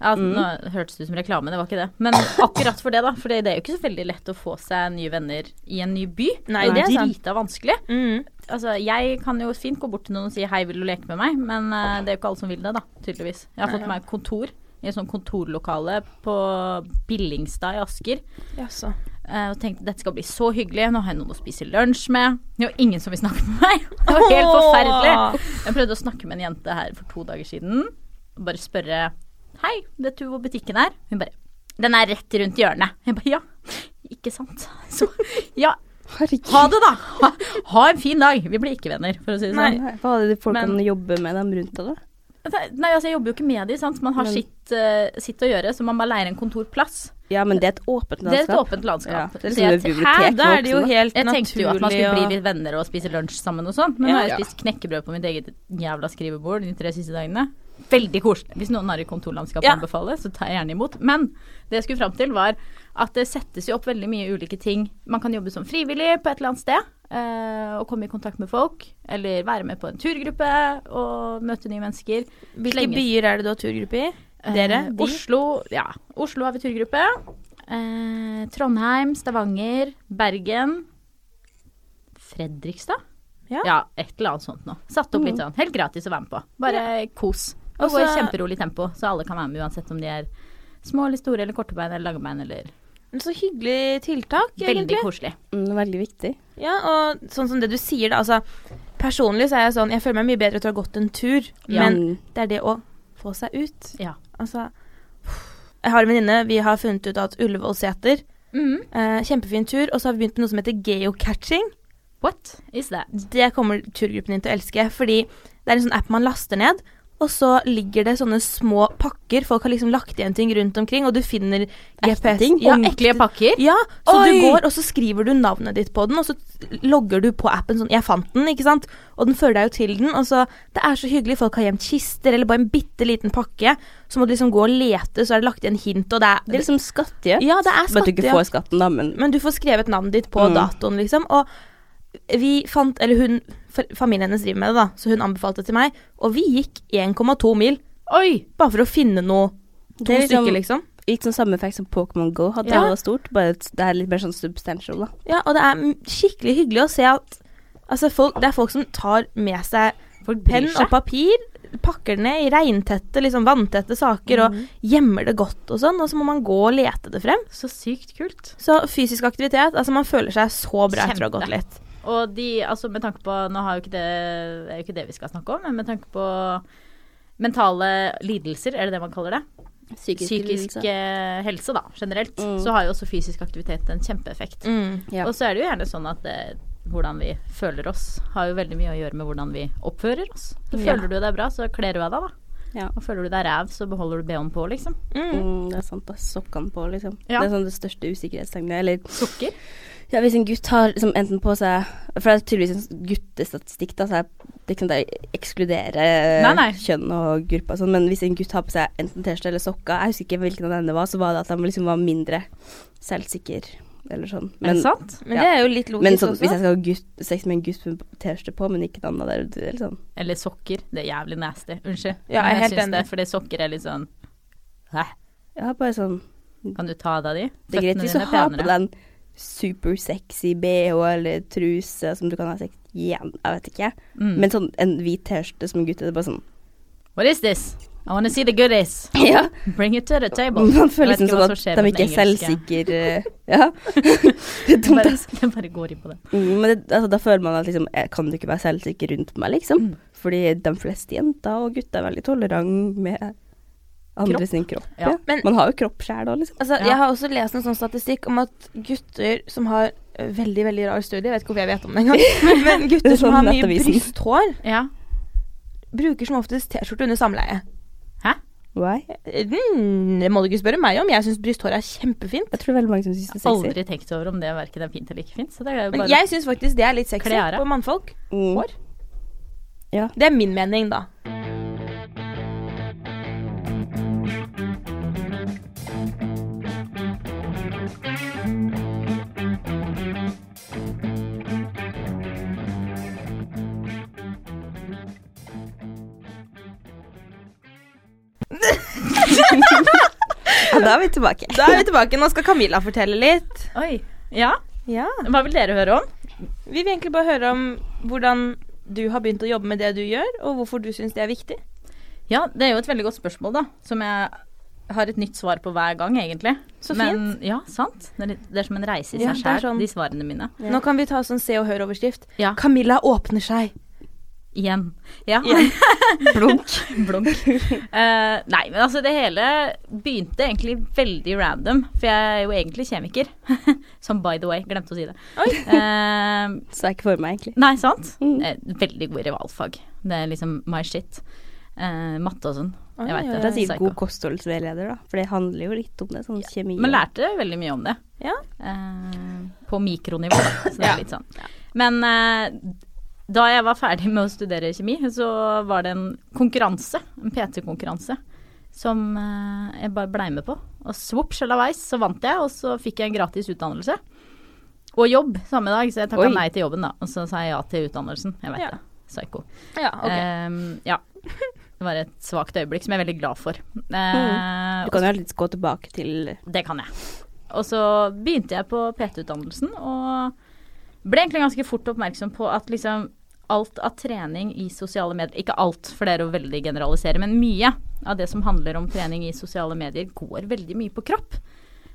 S3: Ja, Nå hørtes det ut som reklame, det var ikke det. Men akkurat for det, da. For det det er jo ikke så veldig lett å få seg nye venner i en ny by.
S1: Nei,
S3: det
S1: det er
S3: er
S1: sant.
S3: drita vanskelig.
S1: Mm.
S3: Altså, jeg kan jo fint gå bort til noen og si 'hei, vil du leke med meg?' Men eh, det er jo ikke alle som vil det, da, tydeligvis. Jeg har fått meg kontor i et sånt kontorlokale på Billingstad i Asker.
S1: Jaså.
S3: eh, Og tenkte dette skal bli så hyggelig, nå har jeg noen å spise lunsj med. Det er jo ingen som vil snakke med meg. Det var helt forferdelig. Jeg prøvde å snakke med en jente her for to dager siden. Og bare spørre Hei, vet du hvor butikken er? Hun bare Den er rett rundt hjørnet. Jeg bare ja. Ikke sant. Så ja,
S2: Herregud.
S3: ha det, da. Ha, ha en fin dag. Vi blir ikke venner, for å si det sånn.
S2: Nei, Hva er det folk
S3: Men-
S2: kan jobbe med dem rundt deg, da?
S3: Nei, altså jeg jobber jo ikke med de, sant. Man har
S2: Men-
S3: sitt, eh, sitt å gjøre, så man bare leier en kontorplass.
S2: Ja, men det er et åpent
S3: Det er et
S2: landskap.
S3: åpent
S2: Ja,
S3: landskap.
S2: det er
S3: Så jeg
S2: liksom et
S3: te-
S2: bibliotek.
S1: Hæ, da er det jo
S2: Voksen, da.
S1: helt
S3: Jeg tenkte jo at man skulle bli
S1: naturlig å
S3: litt venner og spise lunsj sammen og sånn, men nå har
S1: Ja.
S3: jeg spist knekkebrød på mitt eget jævla skrivebord de tre siste dagene. Veldig koselig. Hvis noen har et kontorlandskap å
S1: Ja.
S3: anbefale, så tar jeg gjerne imot. Men det jeg skulle fram til, var at det settes jo opp veldig mye ulike ting. Man kan jobbe som frivillig på et eller annet sted. eh, og komme i kontakt med folk, eller være med på en turgruppe og møte nye mennesker.
S1: Hvilke
S3: Slenge-
S1: byer er det du har turgruppe i?
S3: Eh,
S1: Dere? de?
S3: Oslo, ja. Oslo har vi turgruppe. Eh, Trondheim, Stavanger, Bergen. Fredrikstad?
S1: Ja. Mm.
S3: et eller annet sånt noe. Satt opp litt sånn. Helt gratis å være med på. Bare kos. Og
S1: Og
S3: gå i
S1: så-
S3: kjemperolig tempo, så alle kan være med uansett om de er små eller store eller korte bein eller lange bein eller
S1: Men Så hyggelig tiltak,
S3: Veldig
S1: egentlig.
S3: koselig.
S2: Mm, veldig viktig.
S1: Ja, og sånn som det du sier, da. Altså, personlig så er jeg sånn Jeg føler meg mye bedre etter å ha gått en tur,
S3: Ja.
S1: men det er det å få seg ut.
S3: Ja.
S1: Altså Jeg har en venninne, vi har funnet ut at Ullevålseter
S3: Mm.
S1: eh, Kjempefin tur. Og så har vi begynt med noe som heter geocatching.
S3: What is that?
S1: Det kommer turgruppen din til å elske, fordi det er en sånn app man laster ned. Og så ligger det sånne små pakker. Folk har liksom lagt igjen ting rundt omkring, og du finner GPS.
S2: ting?
S1: Ja,
S3: Ordentlige
S1: ekte-
S3: pakker?
S1: Ja, så
S3: Oi!
S1: du går, og så skriver du navnet ditt på den, og så logger du på appen sånn 'Jeg fant den', ikke sant? Og den fører deg jo til den, og så Det er så hyggelig. Folk har gjemt kister, eller bare en bitte liten pakke. Så må du liksom gå og lete, så er det lagt igjen hint, og det er,
S2: Det er liksom skattejakt.
S1: Ja, det er
S2: Bare at du ikke
S1: skattejakt.
S2: får skatten, da, men
S1: Men du får skrevet navnet ditt på
S2: Mm.
S1: datoen, liksom. Og vi fant Eller hun for- Familien hennes driver med det, da, så hun anbefalte det til meg. Og vi gikk 1,2 mil
S3: Oi!
S1: bare for å finne noe. To
S2: Det er liksom-
S1: stykker, liksom.
S2: litt sånn samme effekt som Pokémon Go hadde
S1: Ja.
S2: da det var stort, bare at det er litt mer sånn substantial, da.
S1: Ja, og det er mm, skikkelig hyggelig å se at altså, folk, det er folk som tar med seg
S3: Folk
S1: penn
S3: bryr
S1: og
S3: seg.
S1: papir, pakker det ned i regntette, liksom vanntette saker
S2: Mhm.
S1: og gjemmer det godt og sånn, og så må man gå og lete det frem.
S3: Så sykt kult.
S1: Så fysisk aktivitet, altså man føler seg så bra etter å ha
S3: Kjempe.
S1: gått litt.
S3: Og de, altså med tanke på Nå har jo ikke det, det er jo ikke det vi skal snakke om, men med tanke på mentale lidelser, er det det man kaller det? Psykisk eh, helse, da, generelt.
S2: Mm.
S3: Så har jo også fysisk aktivitet en kjempeeffekt.
S1: Mm.
S2: Ja.
S3: Og så er det jo gjerne sånn at det, hvordan vi føler oss, har jo veldig mye å gjøre med hvordan vi oppfører oss. Så
S2: Ja.
S3: føler du deg bra, så kler du av deg, da.
S2: Ja.
S3: Og føler du deg ræv, så beholder du BH-en på, liksom.
S1: Mm.
S2: Mm, det er sant, da. Sokkene på, liksom.
S3: Ja.
S2: Det er sånn det største usikkerhetstegnet. Eller
S3: Sukker.
S2: ja, hvis en gutt har liksom enten på seg For det er tydeligvis en guttestatistikk, da, så jeg liksom, det ekskluderer eh,
S3: Nei, nei.
S2: kjønn og grupper og sånn, men hvis en gutt har på seg enten T-skjorte eller sokker, jeg husker ikke hvilken av dem det var, så var det at han liksom var mindre selvsikker eller sånn.
S3: Er
S2: Men,
S3: det sant?
S1: Men
S2: Ja.
S1: det er jo litt logisk
S2: men sånn,
S1: også.
S2: hvis jeg skal ha gutt, sex med en gutt med T-skjorte på, men ikke en annen der, det er litt sånn
S3: Eller sokker. Det er jævlig nasty. Unnskyld.
S1: Ja, jeg er
S3: Men
S1: helt
S3: syns
S1: enig.
S3: Det, fordi sokker er litt sånn Hæ?
S2: Ja, bare sånn
S3: Kan du ta av deg de?
S2: Det er greit hvis du har på den supersexy BH eller truse som du kan ha sex igjen, jeg vet ikke.
S3: Mm.
S2: Men sånn en hvit T-skjorte som en gutt, det er bare sånn
S3: What is this? I wanna see the goodies.
S2: Ja.
S3: Bring it to the table.
S2: Man
S3: Jeg
S2: føler
S3: vet
S2: liksom
S3: hva
S2: sånn
S3: som skjer
S2: at de
S3: med
S2: ikke
S3: den
S2: er
S3: engelske.
S2: selvsikre. Ja. det er dumt,
S3: Bare,
S2: ass.
S3: jeg bare går i på det.
S2: Mm, Men det, altså, da føler man at liksom jeg Kan du ikke være selvsikker rundt meg, liksom?
S3: Mm.
S2: Fordi de fleste jenter og gutter er veldig tolerante med andre
S3: Kropp.
S2: sin kropp.
S3: Ja.
S2: Ja.
S1: Men-
S2: man har jo kropp sjæl òg, liksom.
S1: Altså,
S3: Ja.
S1: Jeg har også lest en sånn statistikk om at gutter som har eh, veldig veldig rar studie, jeg vet ikke hvorfor jeg vet om det engang, men
S2: Det
S1: gutter
S2: er
S1: som
S2: sånn
S1: har mye
S2: Nettavisen.
S1: brysthår,
S3: Ja.
S1: bruker som oftest T-skjorte under samleie.
S2: Why?
S1: Mm, det må du ikke spørre meg om. Jeg syns brysthår er kjempefint.
S2: Jeg tror veldig mange som syns det er sexy.
S3: Aldri tenkt over om det verken er fint eller ikke fint. Så det er jo
S1: Men
S3: bare
S1: jeg syns faktisk det er litt sexy
S3: Klære.
S1: på mannfolk.
S2: Mm.
S1: Hår.
S2: Ja.
S1: Det er min mening, da.
S2: Ja, da er vi tilbake.
S1: Da er vi tilbake. Nå skal Camilla fortelle litt.
S3: Oi. Ja.
S1: Ja.
S3: Hva vil dere høre om?
S1: Vi vil egentlig bare høre om hvordan du har begynt å jobbe med det du gjør, og hvorfor du syns det er viktig.
S3: Ja, det er jo et veldig godt spørsmål, da. Som jeg har et nytt svar på hver gang, egentlig.
S1: Så
S3: Men, ja, sant. Det er, litt- det er som en reise i
S1: Ja, det
S3: seg sjæl,
S1: er sånn.
S3: de svarene mine.
S2: Ja.
S1: Nå kan vi ta sånn se og hør-overskrift.
S3: Ja.
S1: Camilla åpner seg.
S3: Igjen. Ja.
S1: Igjen.
S2: Blunk.
S3: Blunk. Eh, nei, men altså det hele begynte egentlig veldig random, for jeg er jo egentlig kjemiker. som by the way, glemte å si det. Eh,
S2: Så er ikke for meg, egentlig.
S3: nei, sant?
S2: Mm.
S3: Eh, Veldig god i valgfag. Det er liksom my shit. Eh, matte og sånn.
S1: Oi,
S3: Jeg vet
S1: oi,
S3: det.
S2: Det er
S3: Psycho.
S2: sikkert god kostholdsveileder, da. For det handler jo litt om det, sånn kjemi.
S3: Men lærte veldig mye om det.
S1: Ja.
S3: Eh, på mikronivå, da. Så det
S1: Ja.
S3: er litt sånn. Men eh, da jeg var ferdig med å studere kjemi, så var det en konkurranse, en PT-konkurranse, som eh, jeg bare blei med på. Og svopp sjalabais, så vant jeg, og så fikk jeg en gratis utdannelse. Og jobb samme dag, så jeg takka
S2: Oi.
S3: nei til jobben, da. Og så sa jeg ja til utdannelsen. Jeg vet
S1: Ja.
S3: det. Psyko.
S1: Ja, ok.
S3: Eh, ja. Det var et svakt øyeblikk som jeg er veldig glad for. Eh,
S2: Du kan jo alltids gå tilbake til
S3: det kan jeg. Og så begynte jeg på PT-utdannelsen og ble egentlig ganske fort oppmerksom på at liksom alt av trening i sosiale medier Ikke alt, for det er å veldig generalisere, men mye av det som handler om trening i sosiale medier, går veldig mye på kropp.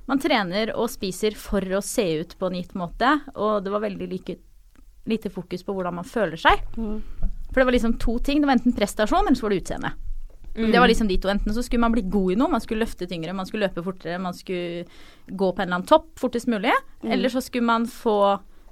S3: Man trener og spiser for å se ut på en gitt måte, og det var veldig like, lite fokus på hvordan man føler seg.
S2: Mm.
S3: For det var liksom to ting. Det var enten prestasjon, eller så var det utseende. Det
S2: Mm.
S3: var liksom de to. Enten så skulle man bli god i noe, man skulle løfte tyngre, man skulle løpe fortere, man skulle gå på en eller annen topp fortest mulig.
S2: Mm.
S3: Eller så skulle man få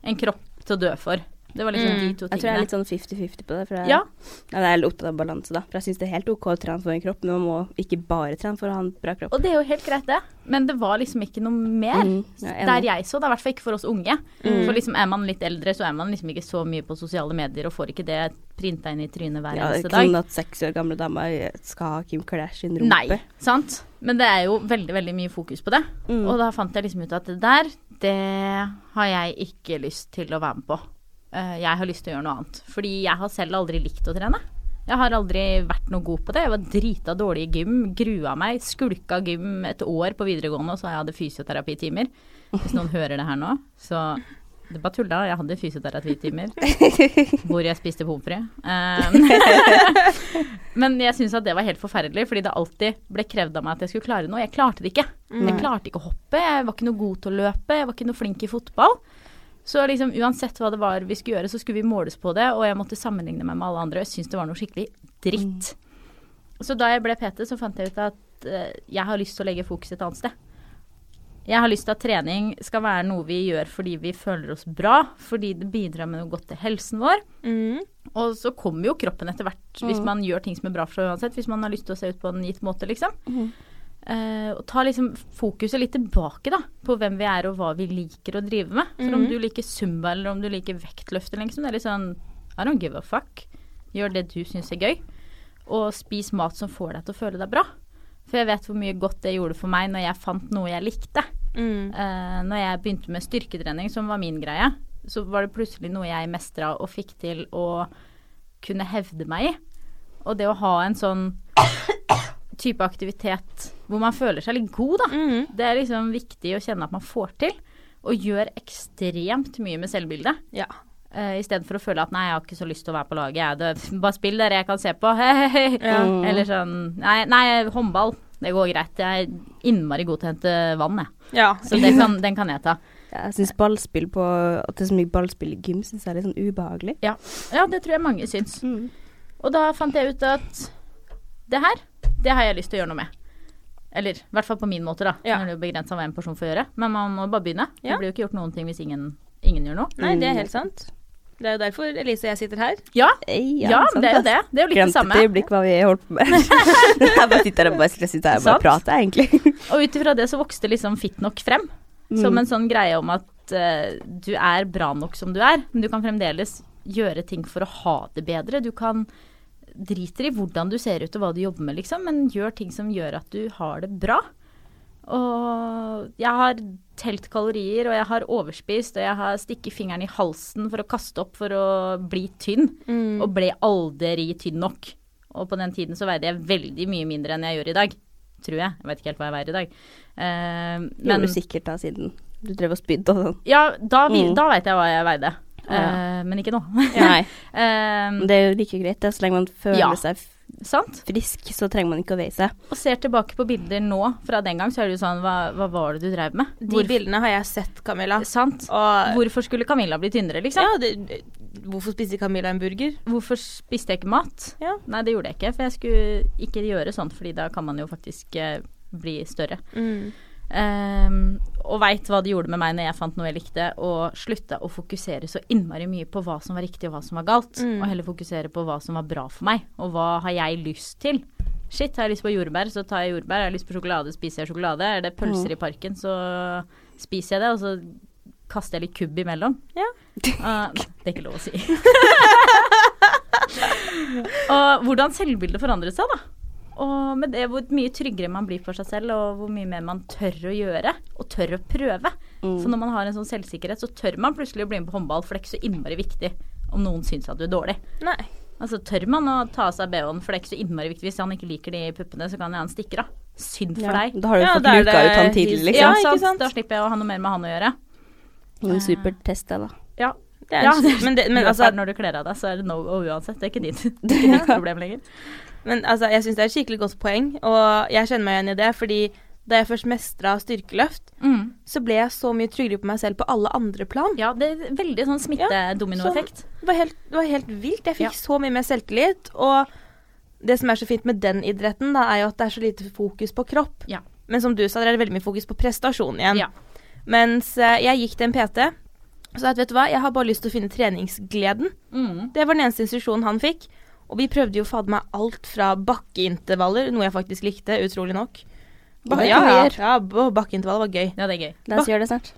S3: en kropp til å dø for. Det var liksom
S1: Mm.
S3: de to
S2: Jeg tror jeg er
S3: tingene.
S2: litt sånn 50-50 på det. For jeg,
S3: Ja.
S2: Ja, jeg er litt opptatt av balanse, da. For jeg syns det er helt OK å trene for en kropp, men man må ikke bare trene for å ha en bra kropp.
S3: Og det er jo helt greit, det. Men det var liksom ikke noe mer.
S2: Mm, jeg er enig. Mm.
S3: Der jeg så, det er i hvert fall ikke for oss unge. For liksom er man litt eldre, så er man liksom ikke så mye på sosiale medier og får ikke det printa inn i trynet hver
S2: Ja, det
S3: eneste
S2: er ikke
S3: dag.
S2: sånn at seks år gamle damer eh, skal ha Kim Kardashian rumpe.
S3: Nei, sant? Men det er jo veldig, veldig mye fokus på det.
S2: Mm.
S3: Og da fant jeg liksom ut at det der, det har jeg ikke lyst til å være med på. Eh, Jeg har lyst til å gjøre noe annet. Fordi jeg har selv aldri likt å trene. Jeg har aldri vært noe god på det. Jeg var drita dårlig i gym, grua meg, skulka gym et år på videregående, og så jeg hadde fysioterapitimer. Hvis noen hører det her nå, så det bare tulla. Jeg hadde fysioterapitimer hvor jeg spiste pommes frites. Eh, Men jeg syns at det var helt forferdelig, fordi det alltid ble krevd av meg at jeg skulle klare noe. Jeg klarte det ikke. Jeg klarte ikke å hoppe, jeg var ikke noe god til å løpe, jeg var ikke noe flink i fotball. Så liksom uansett hva det var vi skulle gjøre, så skulle vi måles på det, og jeg måtte sammenligne meg med alle andre, og jeg syntes det var noe skikkelig dritt. Så da jeg ble PT, så fant jeg ut at eh, jeg har lyst til å legge fokus et annet sted. Jeg har lyst til at trening skal være noe vi gjør fordi vi føler oss bra, fordi det bidrar med noe godt til helsen vår.
S1: Mm.
S3: Og så kommer jo kroppen etter hvert, hvis
S2: Mm.
S3: man gjør ting som er bra for seg uansett. Hvis man har lyst til å se ut på en gitt måte, liksom.
S2: Mhm.
S3: Eh, og ta liksom fokuset litt tilbake, da. På hvem vi er og hva vi liker å drive med. For om
S1: Mhm.
S3: du liker zumba eller om du liker vektløft eller liksom, det er litt sånn I don't give a fuck. Gjør det du syns er gøy. Og spis mat som får deg til å føle deg bra. For jeg vet hvor mye godt det gjorde for meg når jeg fant noe jeg likte.
S1: Mm.
S3: Eh, når jeg begynte med styrketrening, som var min greie, så var det plutselig noe jeg mestra og fikk til å kunne hevde meg i. Og det å ha en sånn type aktivitet hvor man føler seg litt god, da.
S1: Mm.
S3: Det er liksom viktig å kjenne at man får til, og gjør ekstremt mye med selvbildet.
S1: Ja.
S3: Uh, Istedenfor å føle at nei, jeg har ikke så lyst til å være på laget, jeg. Det, bare spill dere, jeg kan se på. Hei.
S2: Ja.
S3: Eller sånn nei, nei, håndball. Det går greit. Jeg er innmari god til å hente vann, jeg.
S1: ja.
S3: Så det kan, den kan jeg ta.
S2: Ja, jeg syns ballspill på At det er så mye ballspill i gym, syns jeg er litt sånn ubehagelig.
S3: Ja. ja, det tror jeg mange syns. Og da fant jeg ut at det her, det har jeg lyst til å gjøre noe med. Eller i hvert fall på min måte, da.
S1: Ja.
S3: Når det er begrensa hva en person får gjøre. Men man må bare begynne.
S1: Ja.
S3: Det blir jo ikke gjort noen ting hvis ingen, ingen gjør noe.
S1: Nei, det er helt sant. Det er jo derfor Elise og jeg sitter her.
S3: Ja,
S2: Ei,
S3: ja, men det er jo det. Det er jo litt det
S2: Glemte
S3: samme.
S2: et øyeblikk hva vi holdt på med. jeg bare sitter her og bare, jeg sitter her og
S3: Sant.
S2: bare prater, egentlig.
S3: Og ut ifra det så vokste liksom Fit nok frem. Som en sånn greie om at eh, du er bra nok som du er, men du kan fremdeles gjøre ting for å ha det bedre. Du kan driter i hvordan du ser ut og hva du jobber med, liksom, men gjør ting som gjør at du har det bra. Og jeg har telt kalorier, og jeg har overspist, og jeg har stikket fingeren i halsen for å kaste opp for å bli tynn,
S2: Mm.
S1: Mm.
S3: og ble aldri tynn nok. Og på den tiden så veide jeg veldig mye mindre enn jeg gjør i dag. Tror jeg. Jeg vet ikke helt hva jeg veier i dag. Eh, men-
S2: Gjorde du sikkert da, siden du drev og spydde og sånn.
S3: ja, da, vi,
S2: Mm.
S3: da veit jeg hva jeg veide.
S2: Ja.
S3: Eh, men ikke nå.
S2: Nei.
S3: Eh,
S2: Men det er jo like greit, det. Så lenge man føler
S3: Ja.
S2: seg
S3: sant?
S2: frisk, så trenger man ikke å veie seg.
S3: Og ser tilbake på bilder nå fra den gang, så er det jo sånn Hva, hva var det du drev med?
S1: De bildene har jeg sett, Camilla.
S3: sant?
S1: Og
S3: Hvorfor skulle Camilla bli tynnere, liksom?
S1: ja, det, eh, hvorfor spiste Camilla en burger?
S3: Hvorfor spiste jeg ikke mat?
S1: Ja.
S3: Nei, det gjorde jeg ikke, for jeg skulle ikke gjøre sånt, fordi da kan man jo faktisk eh, bli større.
S1: Mm.
S3: Ehm, og veit hva det gjorde med meg når jeg fant noe jeg likte, og slutta å fokusere så innmari mye på hva som var riktig og hva som var galt,
S1: Mm.
S3: og heller fokusere på hva som var bra for meg, og hva har jeg lyst til. Shit, har jeg lyst på jordbær, så tar jeg jordbær. Har jeg lyst på sjokolade, spiser jeg sjokolade. Er det pølser i parken, så spiser jeg det, og så kaster jeg litt kubb imellom.
S1: Ja.
S3: Ah, det er ikke lov å si. og hvordan selvbildet forandret seg, da. Og med det hvor mye tryggere man blir for seg selv, og hvor mye mer man tør å gjøre, og tør å prøve. For når man har en sånn selvsikkerhet, så tør man plutselig å bli med på håndball, for det er ikke så innmari viktig om noen syns at du er dårlig.
S1: Nei.
S3: Altså tør man å ta av seg BH-en, for det er ikke så innmari viktig. Hvis han ikke liker de puppene, så kan jeg ha en stikker av. Synd for
S2: Ja.
S3: deg.
S2: Da har du
S1: Ja,
S2: fått
S1: da er
S2: luka
S1: det-
S2: ut han tidlig, liksom.
S1: Ja,
S3: Ja,
S1: ikke
S3: sant?
S1: sant?
S3: Da slipper jeg å ha noe mer med han å gjøre.
S2: En super test, det, da.
S3: Ja.
S1: Det er,
S3: Ja,
S1: en- men, det, men, altså,
S3: når du kler av deg, så er det no go uansett. Det er ikke ditt, det er ikke ditt problem lenger.
S1: men altså, jeg syns det er et skikkelig godt poeng, og jeg kjenner meg igjen i det. fordi da jeg først mestra styrkeløft,
S3: Mm.
S1: så ble jeg så mye tryggere på meg selv på alle andre plan.
S3: Ja, det er veldig sånn smittedominoeffekt.
S1: Det var helt, det var helt vilt. Jeg fikk
S3: Ja.
S1: så mye mer selvtillit. Og det som er så fint med den idretten, da, er jo at det er så lite fokus på kropp.
S3: Ja.
S1: Men som du sa, det er veldig mye fokus på prestasjon igjen.
S3: Ja.
S1: Mens eh, jeg gikk til en PT, så sa jeg at vet du hva, jeg har bare lyst til å finne treningsgleden.
S3: Mm.
S1: Det var den eneste instruksjonen han fikk. Og vi prøvde jo fader meg alt fra bakkeintervaller, noe jeg faktisk likte, utrolig nok. Ba
S2: Det
S1: ja,
S2: kan vi
S1: ja,
S2: gjøre.
S1: ja, b- bakkeintervaller var gøy.
S3: Ja, det er gøy.
S2: La oss gjøre det snart.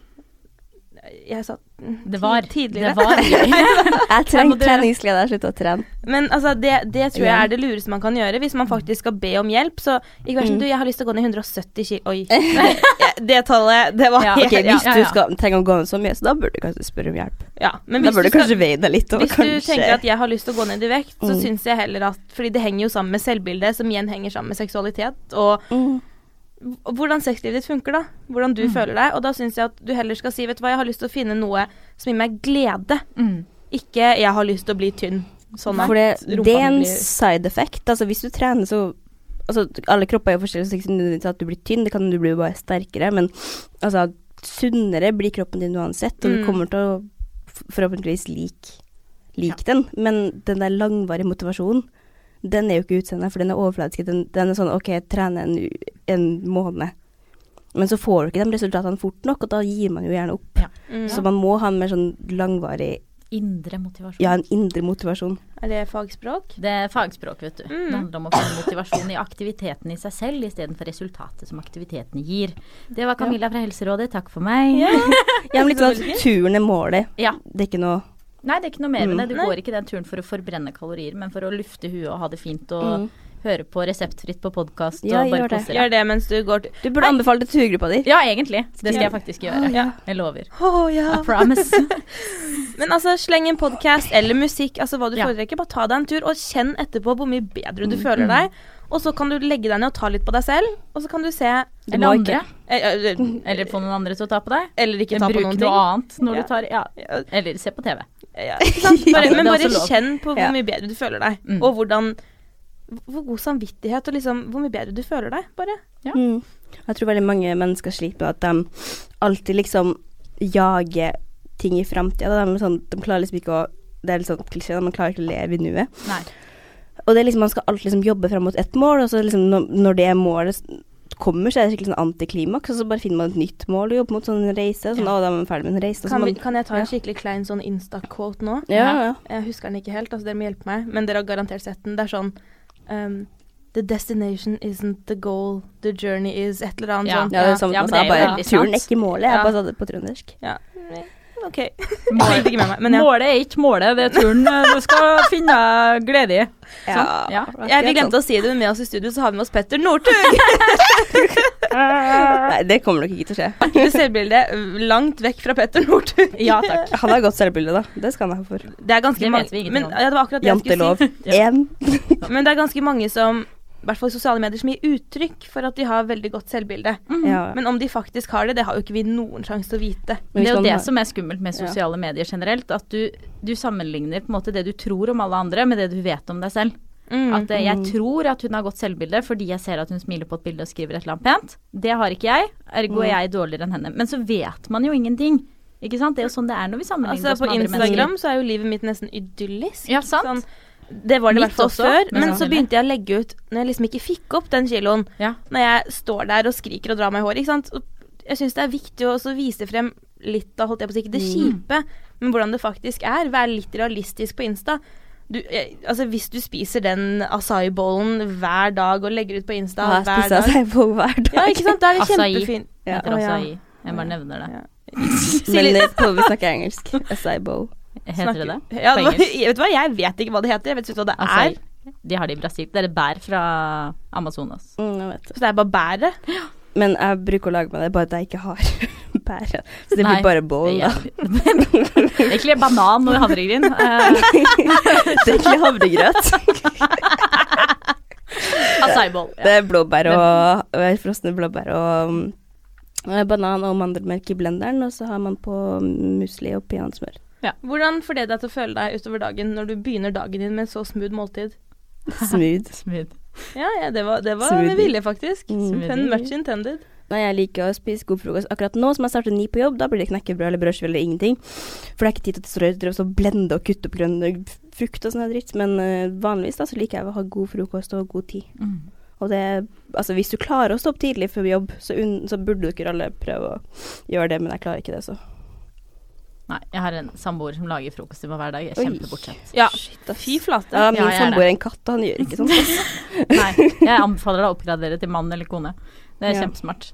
S1: Jeg sa mm,
S3: Det var,
S1: ti-
S3: det var gøy.
S2: Jeg
S3: Her må
S2: trenger
S3: du-
S2: treningsglede. Jeg har sluttet å trene.
S1: Men altså, det, det tror jeg
S2: Ja.
S1: er det lureste man kan gjøre hvis man faktisk skal be om hjelp. Så ikke
S2: Mm.
S1: vær sånn du, jeg har lyst til å gå ned 170 kilo Oi. Ja, det tallet, det var
S3: Ja,
S1: helt
S2: Ok,
S1: ja,
S2: Hvis
S3: ja,
S2: du
S3: ja.
S2: skal trenger å gå ned så mye, så da burde du kanskje spørre om hjelp.
S1: ja. Men
S2: Da
S1: hvis,
S2: burde
S1: du,
S2: du kanskje
S1: skal,
S2: veie deg litt. Og
S1: hvis du
S2: kanskje...
S1: tenker at jeg har lyst til å gå ned i vekt, så
S2: Mm.
S1: syns jeg heller at Fordi det henger jo sammen med selvbildet, som igjen henger sammen med seksualitet. Og
S2: mm.
S1: og hvordan sexlivet ditt funker, da. Hvordan du føler deg. Og da syns jeg at du heller skal si, vet du hva, jeg har lyst til å finne noe som gir meg glede.
S3: Mm.
S1: Ikke jeg har lyst til å bli tynn. Sånn at
S2: For det,
S1: rumpa
S2: det
S1: mi
S2: er en
S1: blir-
S2: side effect. Altså, hvis du trener, så altså, Alle kropper er jo forskjellige, så det er ikke nødvendigvis at du blir tynn, det kan du bli bare sterkere, men altså Sunnere blir kroppen din uansett, og
S1: Mm.
S2: du kommer til å f- forhåpentligvis like like den, men den der langvarige motivasjonen, den er jo ikke utseendet, for den er overfladisk. Den, den er sånn OK, jeg trener en, u- en måned, men så får du ikke de resultatene fort nok, og da gir man jo gjerne opp.
S1: Mm.
S2: Så man må ha en mer sånn langvarig,
S3: Indre motivasjon.
S2: ja, en indre motivasjon.
S1: Er det fagspråk?
S3: Det er fagspråk, vet du. Det handler om å få motivasjon i aktiviteten i seg selv istedenfor resultatet som aktiviteten gir. Det var Camilla fra Helserådet, takk for meg.
S2: Ja, men litt sånn at turen er målet.
S3: Ja.
S2: Det er ikke noe
S3: Nei, det er ikke noe mer med det. Du
S1: Nei.
S3: går ikke den turen for å forbrenne kalorier, men for å lufte huet og ha det fint og høre på reseptfritt på podkast
S2: Ja,
S3: og bare
S2: gjør det.
S3: kose deg.
S1: Mm. Gjør det mens du går til
S2: Du burde anbefale det til turgruppa di.
S3: Ja, egentlig. Det skal jeg faktisk gjøre.
S1: Ja.
S3: Jeg lover.
S1: Å ja.
S3: I promise.
S1: Men altså, sleng en podkast eller musikk, altså hva du
S3: Ja.
S1: foretrekker. Bare ta deg en tur, og kjenn etterpå hvor mye bedre
S2: Mm.
S1: du føler deg. Og så kan du legge deg ned og ta litt på deg selv, og så kan du se
S2: Du
S3: Eller
S2: må
S3: andre.
S2: ikke.
S1: Eller,
S2: Mm.
S3: Eller få noen andre til å ta på deg.
S1: eller ikke ta
S3: Bruk
S1: på
S3: noe
S1: noen ting.
S3: annet når
S1: Ja.
S3: du tar Ja.
S1: Ja.
S3: Eller se på TV.
S1: Ja, ikke sant? Bare,
S3: Ja,
S1: men
S3: det er
S1: bare
S3: også lov.
S1: kjenn på hvor
S2: Ja.
S1: mye bedre du føler deg,
S3: Mm.
S1: og hvordan Hvor god samvittighet og liksom hvor mye bedre du føler deg, bare.
S2: Mm. Jeg tror veldig mange mennesker sliter med at de alltid liksom jager ting i framtida. De, er sånn, de klarer liksom ikke å Det er litt sånn klisjé, man klarer ikke å leve i nuet.
S3: Nei.
S2: Og det er liksom, man skal alltid liksom jobbe fram mot ett mål, og så liksom når, når det målet s- kommer, så er det skikkelig sånn antiklimaks, og så bare finner man et nytt mål å jobbe mot, sånn en reise. Sånn,
S3: Ja.
S2: å, da er man ferdig med en reise. og så
S1: Kan, vi,
S2: man,
S1: kan jeg ta
S2: ja.
S1: en skikkelig klein sånn Insta-quote nå?
S2: ja, ja.
S1: Jeg husker den ikke helt, altså dere må hjelpe meg, men dere har garantert sett den. Det er sånn ehm, The destination isn't the goal, the journey is et eller annet
S3: Ja.
S1: sånt.
S2: ja, det er sånn
S3: Ja,
S2: ja,
S3: men det
S2: altså,
S3: er jo
S2: jeg bare
S3: veldig
S2: Turen er
S3: sant.
S2: ikke målet, jeg
S3: Ja.
S2: bare sa det på trøndersk.
S1: Ja. OK.
S3: Mål.
S1: Jeg fikk det ikke med meg, men ja.
S3: Målet er ikke målet, det er turen eh, du skal finne glede i.
S2: Ja.
S3: Sånn, Ja.
S1: Jeg, vi glemte å si det, men med oss i studio så har vi med oss Petter Northug!
S2: Nei, det kommer nok ikke til å skje.
S1: Artig selvbilde langt vekk fra Petter Northug.
S3: Ja takk.
S2: Han har godt selvbilde, da. Det skal han ha for.
S1: Det er ganske
S3: Det vet vi
S1: mange
S3: ingenting
S1: men,
S3: om.
S1: ja, det var akkurat det jeg skulle si.
S2: Jantelov 1.
S1: Men det er ganske mange som, i hvert fall i sosiale medier, som gir uttrykk for at de har veldig godt selvbilde.
S2: Ja.
S1: Men om de faktisk har det, det har jo ikke vi noen sjanse til å vite.
S3: Det
S2: Men
S3: er
S2: hvis
S3: jo
S2: man
S3: det
S2: har-
S3: som er skummelt med sosiale medier generelt. At du, du sammenligner på en måte det du tror om alle andre, med det du vet om deg selv.
S1: At,
S3: At eh, jeg tror at hun har godt selvbilde fordi jeg ser at hun smiler på et bilde og skriver et eller annet pent. Det har ikke jeg, ergo er jeg dårligere enn henne. Men så vet man jo ingenting. Ikke sant? Det er jo sånn det er når vi sammenligner
S1: altså,
S3: oss
S1: på
S3: med andre
S1: Instagram
S3: mennesker.
S1: så er jo livet mitt nesten idyllisk.
S3: Ja, sant?
S1: Sånn, det var det i
S3: Mitt
S1: hvert fall
S3: også,
S1: før.
S3: men
S1: Men
S3: sånn
S1: så
S3: er det.
S1: begynte jeg å legge ut når jeg liksom ikke fikk opp den kiloen.
S3: Ja.
S1: Når jeg står der og skriker og drar meg i håret. Ikke sant? Og Jeg syns det er viktig å også vise frem litt av holdt jeg på å si, ikke
S2: Mm.
S1: det kjipe, men hvordan det faktisk er. Vær litt realistisk på Insta. Du, eh, altså Hvis du spiser den acai-bollen hver dag og legger ut på Insta
S2: Ja, jeg
S1: hver
S2: spiser
S1: dag
S2: acai på hver dag.
S1: Ja, ikke sant? Da er det
S3: Acai.
S1: kjempefint.
S2: Ja.
S3: Heter
S1: Å, ja.
S3: acai. Jeg bare nevner det.
S1: Ja.
S2: Men
S1: litt-
S2: eh, på, vi snakker engelsk. Acai bowl.
S3: Heter det det?
S1: Ja, det
S3: På
S1: var,
S3: engelsk?
S1: vet du hva, jeg vet ikke hva det heter. Jeg vet ikke hva det
S3: Acai.
S1: er.
S3: De har det i Brasil. Det er et bær fra Amazonas.
S2: Mm, jeg vet det.
S1: Så det er bare bæret.
S2: Men jeg bruker å lage meg det, bare at jeg ikke har bær. Så det
S3: Nei,
S2: blir bare bowl,
S3: Det
S2: da.
S3: er jævlig. Egentlig banan og havregryn. Eh,
S2: det er egentlig havregrøt.
S3: Acai-boll.
S2: Det er blåbær og, og frosne blåbær og mm, eh, banan og mandelmelk i blenderen, og så har man på musli og peanøttsmør.
S1: Hvordan får det deg til å føle deg utover dagen når du begynner dagen din med en så smooth måltid?
S2: Smooth.
S3: Smooth.
S1: Ja, ja det var, det var
S2: Smoothie.
S1: vilje, faktisk.
S2: Mm.
S1: Pun much intended.
S2: Nei, jeg liker å spise god frokost. Akkurat nå som jeg starter ni på jobb, da blir det knekkebrød eller brødskive eller ingenting. For det er ikke tid til å strø- drive og så blende og kutte opp grønn frukt og sånn her dritt. Men eh, vanligvis da så liker jeg å ha god frokost og god tid.
S3: Mm.
S2: Og det Altså hvis du klarer å stå opp tidlig før jobb, så, unn- så burde dere alle prøve å gjøre det, men jeg klarer ikke det, så.
S3: Nei, jeg har en samboer som lager frokost til meg hver dag. Jeg er
S2: Oi.
S3: kjempebortskjemt.
S1: Ja.
S2: Shit, ass.
S1: Fy flate.
S2: Ja, min
S3: Ja, jeg er
S2: samboer er en katt, og han gjør ikke sånn.
S3: Nei, jeg anbefaler deg å oppgradere til mann eller kone. Det er
S2: Ja.
S3: kjempesmart.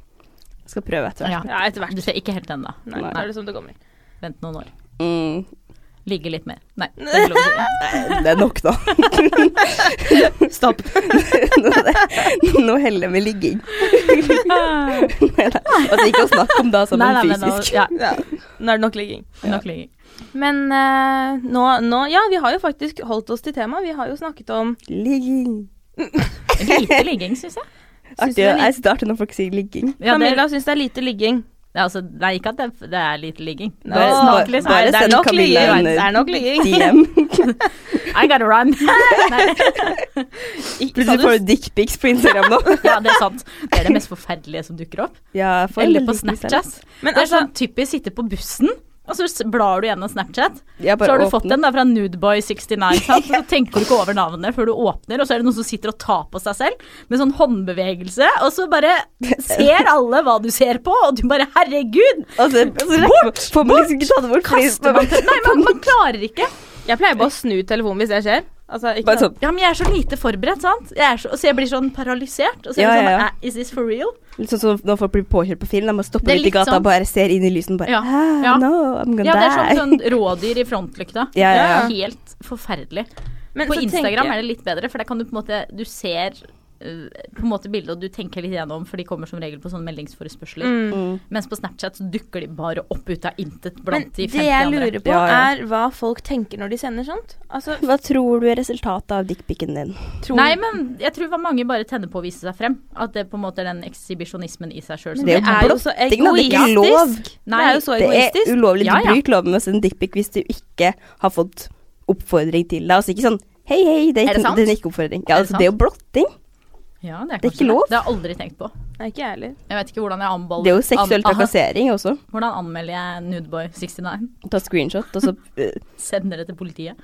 S2: Jeg Skal prøve etter hvert.
S1: Ja, etter hvert.
S3: Du ser ikke helt ennå.
S1: Nei,
S2: Nei.
S1: det er det som det kommer.
S3: Vent noen år.
S2: Mm, eh,
S3: Ligge litt mer. Nei. det er ikke lov å si.
S2: det er nok, da.
S1: Stopp.
S2: Nå er det- Nå heller vi ligging. Nei da. Altså ikke å snakke om da som
S3: Ah. Nei,
S2: en
S3: nei, men nå-
S2: fysisk.
S3: ja,
S1: Ja. Nå er det nok ligging.
S3: nok ligging.
S1: Men eh, nå, nå Ja, vi har jo faktisk holdt oss til temaet. Vi har jo snakket om
S2: Ligging.
S3: Lite ligging, syns jeg.
S1: Syns
S2: Artig,
S1: du det er
S2: jeg starter når folk sier ligging.
S3: Ja, det,
S1: Camilla syns det er lite ligging.
S3: det er altså, det er ikke at det er, det er lite ligging.
S1: Nå,
S2: Bare-
S3: snakk litt.
S2: bare
S1: Nei, det er
S2: send
S1: nok
S2: Camilla
S1: ligging.
S2: en,
S1: Det er nok ligging.
S2: DM.
S3: I gotta run. Nei,
S2: Plutselig får du dickpics på Instagram nå.
S3: ja, det er sant. Det er det mest forferdelige som dukker opp.
S2: Ja, jeg får
S3: Eller
S2: en
S3: på
S2: liten
S3: Snapchat.
S1: Men
S3: Det er
S1: altså,
S3: sånn typisk sitte på bussen, og så s- blar du gjennom Snapchat.
S2: snap.
S3: Så
S2: Jeg bare
S3: har du
S2: åpner.
S3: fått en da fra Nudeboy69, sant? så tenker du ikke over navnet før du åpner, og så er det noen som sitter og tar på seg selv med sånn håndbevegelse, og så bare ser alle hva du ser på, og du bare 'herregud',
S2: Og så- og så rekker- Altså, Får man liksom ikke tatt det bort?
S3: kaster man til Nei, man, man klarer ikke.
S1: jeg pleier bare å snu telefonen hvis det skjer. Altså, ikke
S2: Bare
S1: sant?
S2: sånn.
S3: Ja, men jeg er så lite forberedt, sant. Jeg er så, så jeg blir sånn paralysert. Og så er
S2: Ja,
S3: det
S2: ja,
S3: sånn
S2: ja.
S3: "Æ, Is this for real?
S2: Litt sånn som når folk blir påkjørt på film. De må stoppe
S3: Det er
S2: litt i
S3: litt
S2: gata
S3: sånn.
S2: og bare ser inn i lyset og bare
S3: Ja,
S2: ah,
S3: ja.
S2: No, I'm gonna
S3: Ja, det er
S2: die.
S3: som sånn rådyr i frontlykta.
S2: Ja, ja, ja.
S3: Helt forferdelig.
S1: Men
S3: på
S1: så tenker
S3: Instagram
S1: jeg-
S3: er det litt bedre, for der kan du på en måte Du ser eh, på en måte bildet, og du tenker litt gjennom, for de kommer som regel på sånne meldingsforespørsler.
S1: Mm.
S2: Mm.
S3: Mens på Snapchat så dukker de bare opp ut av intet
S1: Men
S3: blant de
S1: det
S3: 50
S1: jeg
S3: andre.
S1: lurer på,
S2: Ja, ja.
S1: er hva folk tenker når de sender sånt. Altså,
S2: Hva tror du er resultatet av dickpicen din?
S1: tror
S3: Nei, men jeg tror hva mange bare tenner på å vise seg frem. At det på en måte er den ekshibisjonismen i seg sjøl.
S1: Men
S2: det er jo
S1: så
S2: blotting, da. Det er ikke lov.
S1: Det er jo så
S2: Det er
S1: egoistisk.
S2: ulovlig. Du
S3: Ja, ja.
S2: bryter loven med å sende dickpic hvis du ikke har fått oppfordring til deg. Altså ikke sånn Hei, hei, det
S3: Er
S2: er
S3: det
S2: ikke,
S3: sant?
S2: det er ikke oppfordring. Ja,
S3: Er det
S2: altså, det er jo blotting.
S3: Ja, det er,
S2: Det er
S3: kanskje
S2: ikke lov.
S3: Det. det har jeg aldri tenkt på.
S1: Nei, ikke jeg heller.
S3: Jeg vet ikke hvordan jeg anmelder
S2: Det er jo seksuell
S3: an- aha.
S2: trakassering også.
S3: Hvordan anmelder jeg Nudeboy69?
S2: Ta screenshot, og så eh,
S3: Sender det til politiet.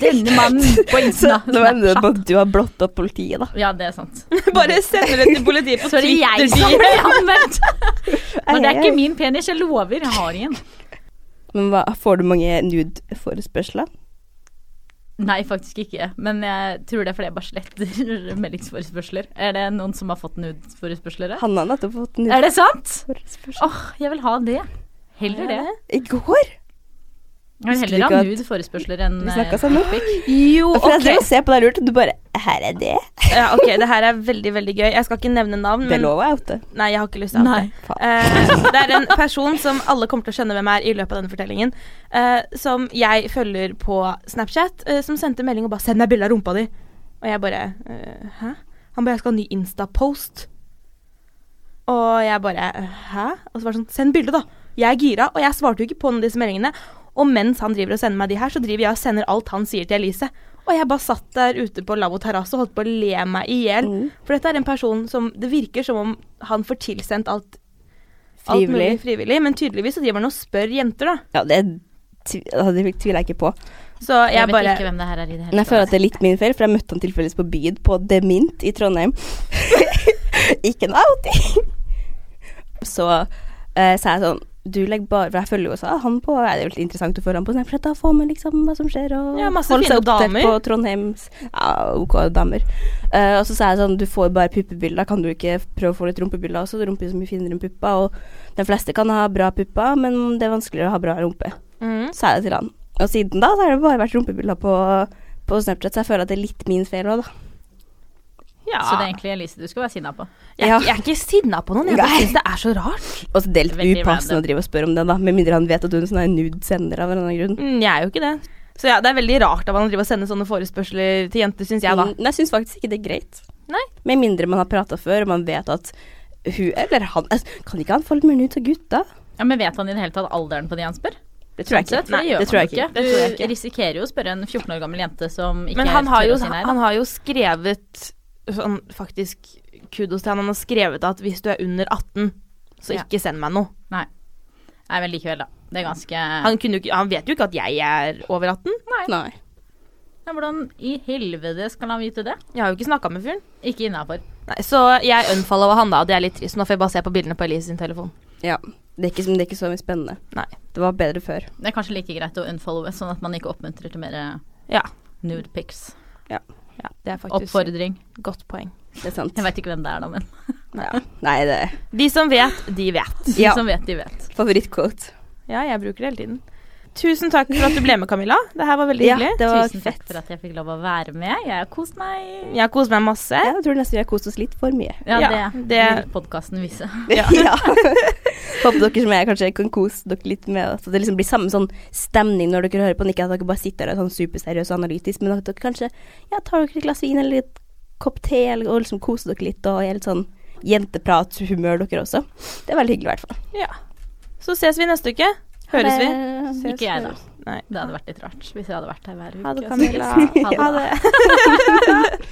S3: Denne mannen på
S2: Så
S3: Insta.
S2: nå ender det på at du har blotta politiet, da.
S3: Ja, det er sant.
S1: Bare sender det til politiet på
S3: Så er det jeg
S1: Twitter.
S3: som blir anmeldt. Men det er
S2: Ai, ai.
S3: ikke min penis, jeg lover. Jeg har en.
S2: Men hva, får du mange nude-forespørsler?
S3: Nei, faktisk ikke. Men jeg tror det er fordi jeg bare sletter meldingsforespørsler. Er det noen som har fått nudeforespørsler? her?
S2: Hanna har nettopp fått
S3: Er det sant?
S2: nude-forespørsel.
S3: Åh, jeg vil ha det. Heller det.
S2: I går!
S3: Jeg vil
S2: Husker du
S3: heller
S2: ikke
S3: ha
S2: at-
S3: nudeforespørseler enn
S2: Vi
S3: eh,
S2: snakka sammen.
S1: Jo,
S2: For jeg
S1: ok.
S2: drev og så på deg lurt, og du bare Her er det.
S1: Ja, ok, det her er veldig, veldig gøy. Jeg skal ikke nevne navn,
S2: Det
S1: men
S2: lover jeg oute.
S1: Nei, jeg har ikke lyst til å ha
S3: Nei.
S1: det. Eh, det er en person som alle kommer til å skjønne hvem er i løpet av denne fortellingen, eh, som jeg følger på Snapchat, eh, som sendte melding og bare 'Send meg bilde av rumpa di'. Og jeg bare eh, 'Hæ?' Han bare 'Jeg skal ha ny Insta-post'. Og jeg bare 'Hæ?' Og så var det sånn 'Send bilde, da'. Jeg er gira, og jeg svarte jo ikke på noen av disse meldingene. Og mens han driver og sender meg de her, så driver jeg og sender alt han sier til Elise. Og jeg bare satt der ute på lavvo terrasse og holdt på å le meg i hjel.
S2: Mm.
S1: For dette er en person som Det virker som om han får tilsendt alt, alt mulig
S2: Frivillig.
S1: frivillig, men tydeligvis så driver han og spør jenter, da.
S2: Ja, det, tvi, ja, det tviler jeg ikke på.
S1: Så jeg,
S3: Jeg vet
S1: bare
S3: ikke hvem det her er i det
S2: Men
S3: hele
S2: jeg føler at det er litt min feil, for jeg møtte han tilfeldigvis på byen på Demint i Trondheim. ikke noe outing! Så eh, sa jeg sånn Du legger bare For jeg følger jo også han på ja, Det er jo litt interessant å følge han på Snapchat. Da får man liksom hva som skjer, og
S1: Ja, masse
S2: holde
S1: fine
S2: seg oppdatert
S1: damer.
S2: på Trondheims Ja, OK damer. Eh, og så sa jeg sånn Du får bare puppebilder, kan du ikke prøve å få litt rumpebilder også? Rumpe er så mye finere enn puppa, og de fleste kan ha bra pupper, men det er vanskeligere å ha bra rumpe
S1: mm.
S2: sa jeg det til han. Og siden da så har det bare vært rumpebilder på, på Snapchat, så jeg føler at det er litt min feil òg, da.
S1: Ja.
S3: Så det er egentlig Elise du skal være sinna på.
S1: jeg,
S2: Ja.
S1: er ikke- jeg er ikke sinna på noen, jeg bare
S2: Nei.
S1: syns det er så rart.
S2: Og så det er litt
S3: Veldig
S2: upassende
S3: random.
S2: å drive og spørre om det, da. Med mindre han vet at hun sånn er nude sender av en eller annen grunn.
S1: Mm, jeg er jo ikke det. Så ja, det er veldig rart av han å drive og sende sånne forespørsler til jenter, syns jeg, da.
S2: Mm, Men jeg syns faktisk ikke det er greit.
S1: Nei.
S2: Med mindre man har prata før, og man vet at hun eller han altså, Kan ikke han få litt mer nudes av gutta?
S3: Ja, Men vet han i det hele tatt alderen på de han spør?
S2: Det tror jeg
S3: Så jeg tror
S2: ikke.
S3: jeg gjør
S2: det tror jeg
S3: han
S2: ikke.
S3: nok
S1: Det tror jeg
S3: Du
S1: ikke.
S3: risikerer jo å spørre en 14 år gammel jente som ikke
S1: Men han har,
S3: tør
S1: jo,
S3: å si nei. da.
S1: han har jo skrevet sånn faktisk kudos til han. Han har skrevet at hvis du er under 18, så
S3: Ja.
S1: ikke send meg noe.
S3: Nei, men likevel, da. Det er ganske
S1: Han, kunne jo ikke, han vet jo ikke at jeg er over 18.
S2: Nei.
S3: ja, Hvordan i helvete skal han vite det?
S1: Jeg har jo ikke snakka med fyren.
S3: Ikke innafor.
S1: Nei, så jeg unfollowa han da, og det er litt trist. Nå får jeg bare se på bildene på Elise sin telefon.
S2: Ja. Det er ikke, det er ikke så mye spennende.
S1: Nei.
S2: Det var bedre før.
S3: Det er kanskje like greit å unfollowe, sånn at man ikke oppmuntrer til mer
S1: Ja.
S3: nude pics.
S1: Ja, det er faktisk
S3: Oppfordring.
S1: et godt poeng.
S2: Det er sant.
S3: Jeg veit ikke hvem det er, da, men
S2: Ja. Nei, det
S1: De som vet, de vet.
S3: de
S2: Ja.
S3: som vet, de vet.
S2: Favorittquote.
S1: Ja, jeg bruker det hele tiden. Tusen takk for at du ble med, Camilla. Det her var veldig
S2: Ja,
S1: hyggelig.
S2: det var
S3: Tusen
S2: fett.
S3: takk for at jeg fikk lov å være med. Jeg har kost meg.
S1: Jeg har kost meg masse.
S2: Ja, jeg tror nesten vi har kost oss litt for mye.
S3: Ja,
S1: Ja,
S3: det,
S1: det-
S3: vil podkasten vise.
S2: Ja. Håper dere som jeg kanskje kan kose dere litt med det. Så det liksom blir samme sånn stemning når dere hører på den. Ikke at dere bare sitter der og er sånn superseriøs og analytisk, men at dere kanskje ja, tar dere et glass vin eller et kopp te eller, og liksom koser dere litt og er litt sånn jenteprathumør dere også. Det er veldig hyggelig i hvert fall.
S1: Ja. Så ses vi neste uke. Høres vi.
S2: vi?
S3: Ikke jeg, da.
S1: Nei.
S3: altså. Det hadde vært litt rart hvis jeg hadde vært her hver uke.
S1: Ha det,
S3: Så-
S1: Camilla.
S3: Ha
S1: Ha
S3: det.
S1: det.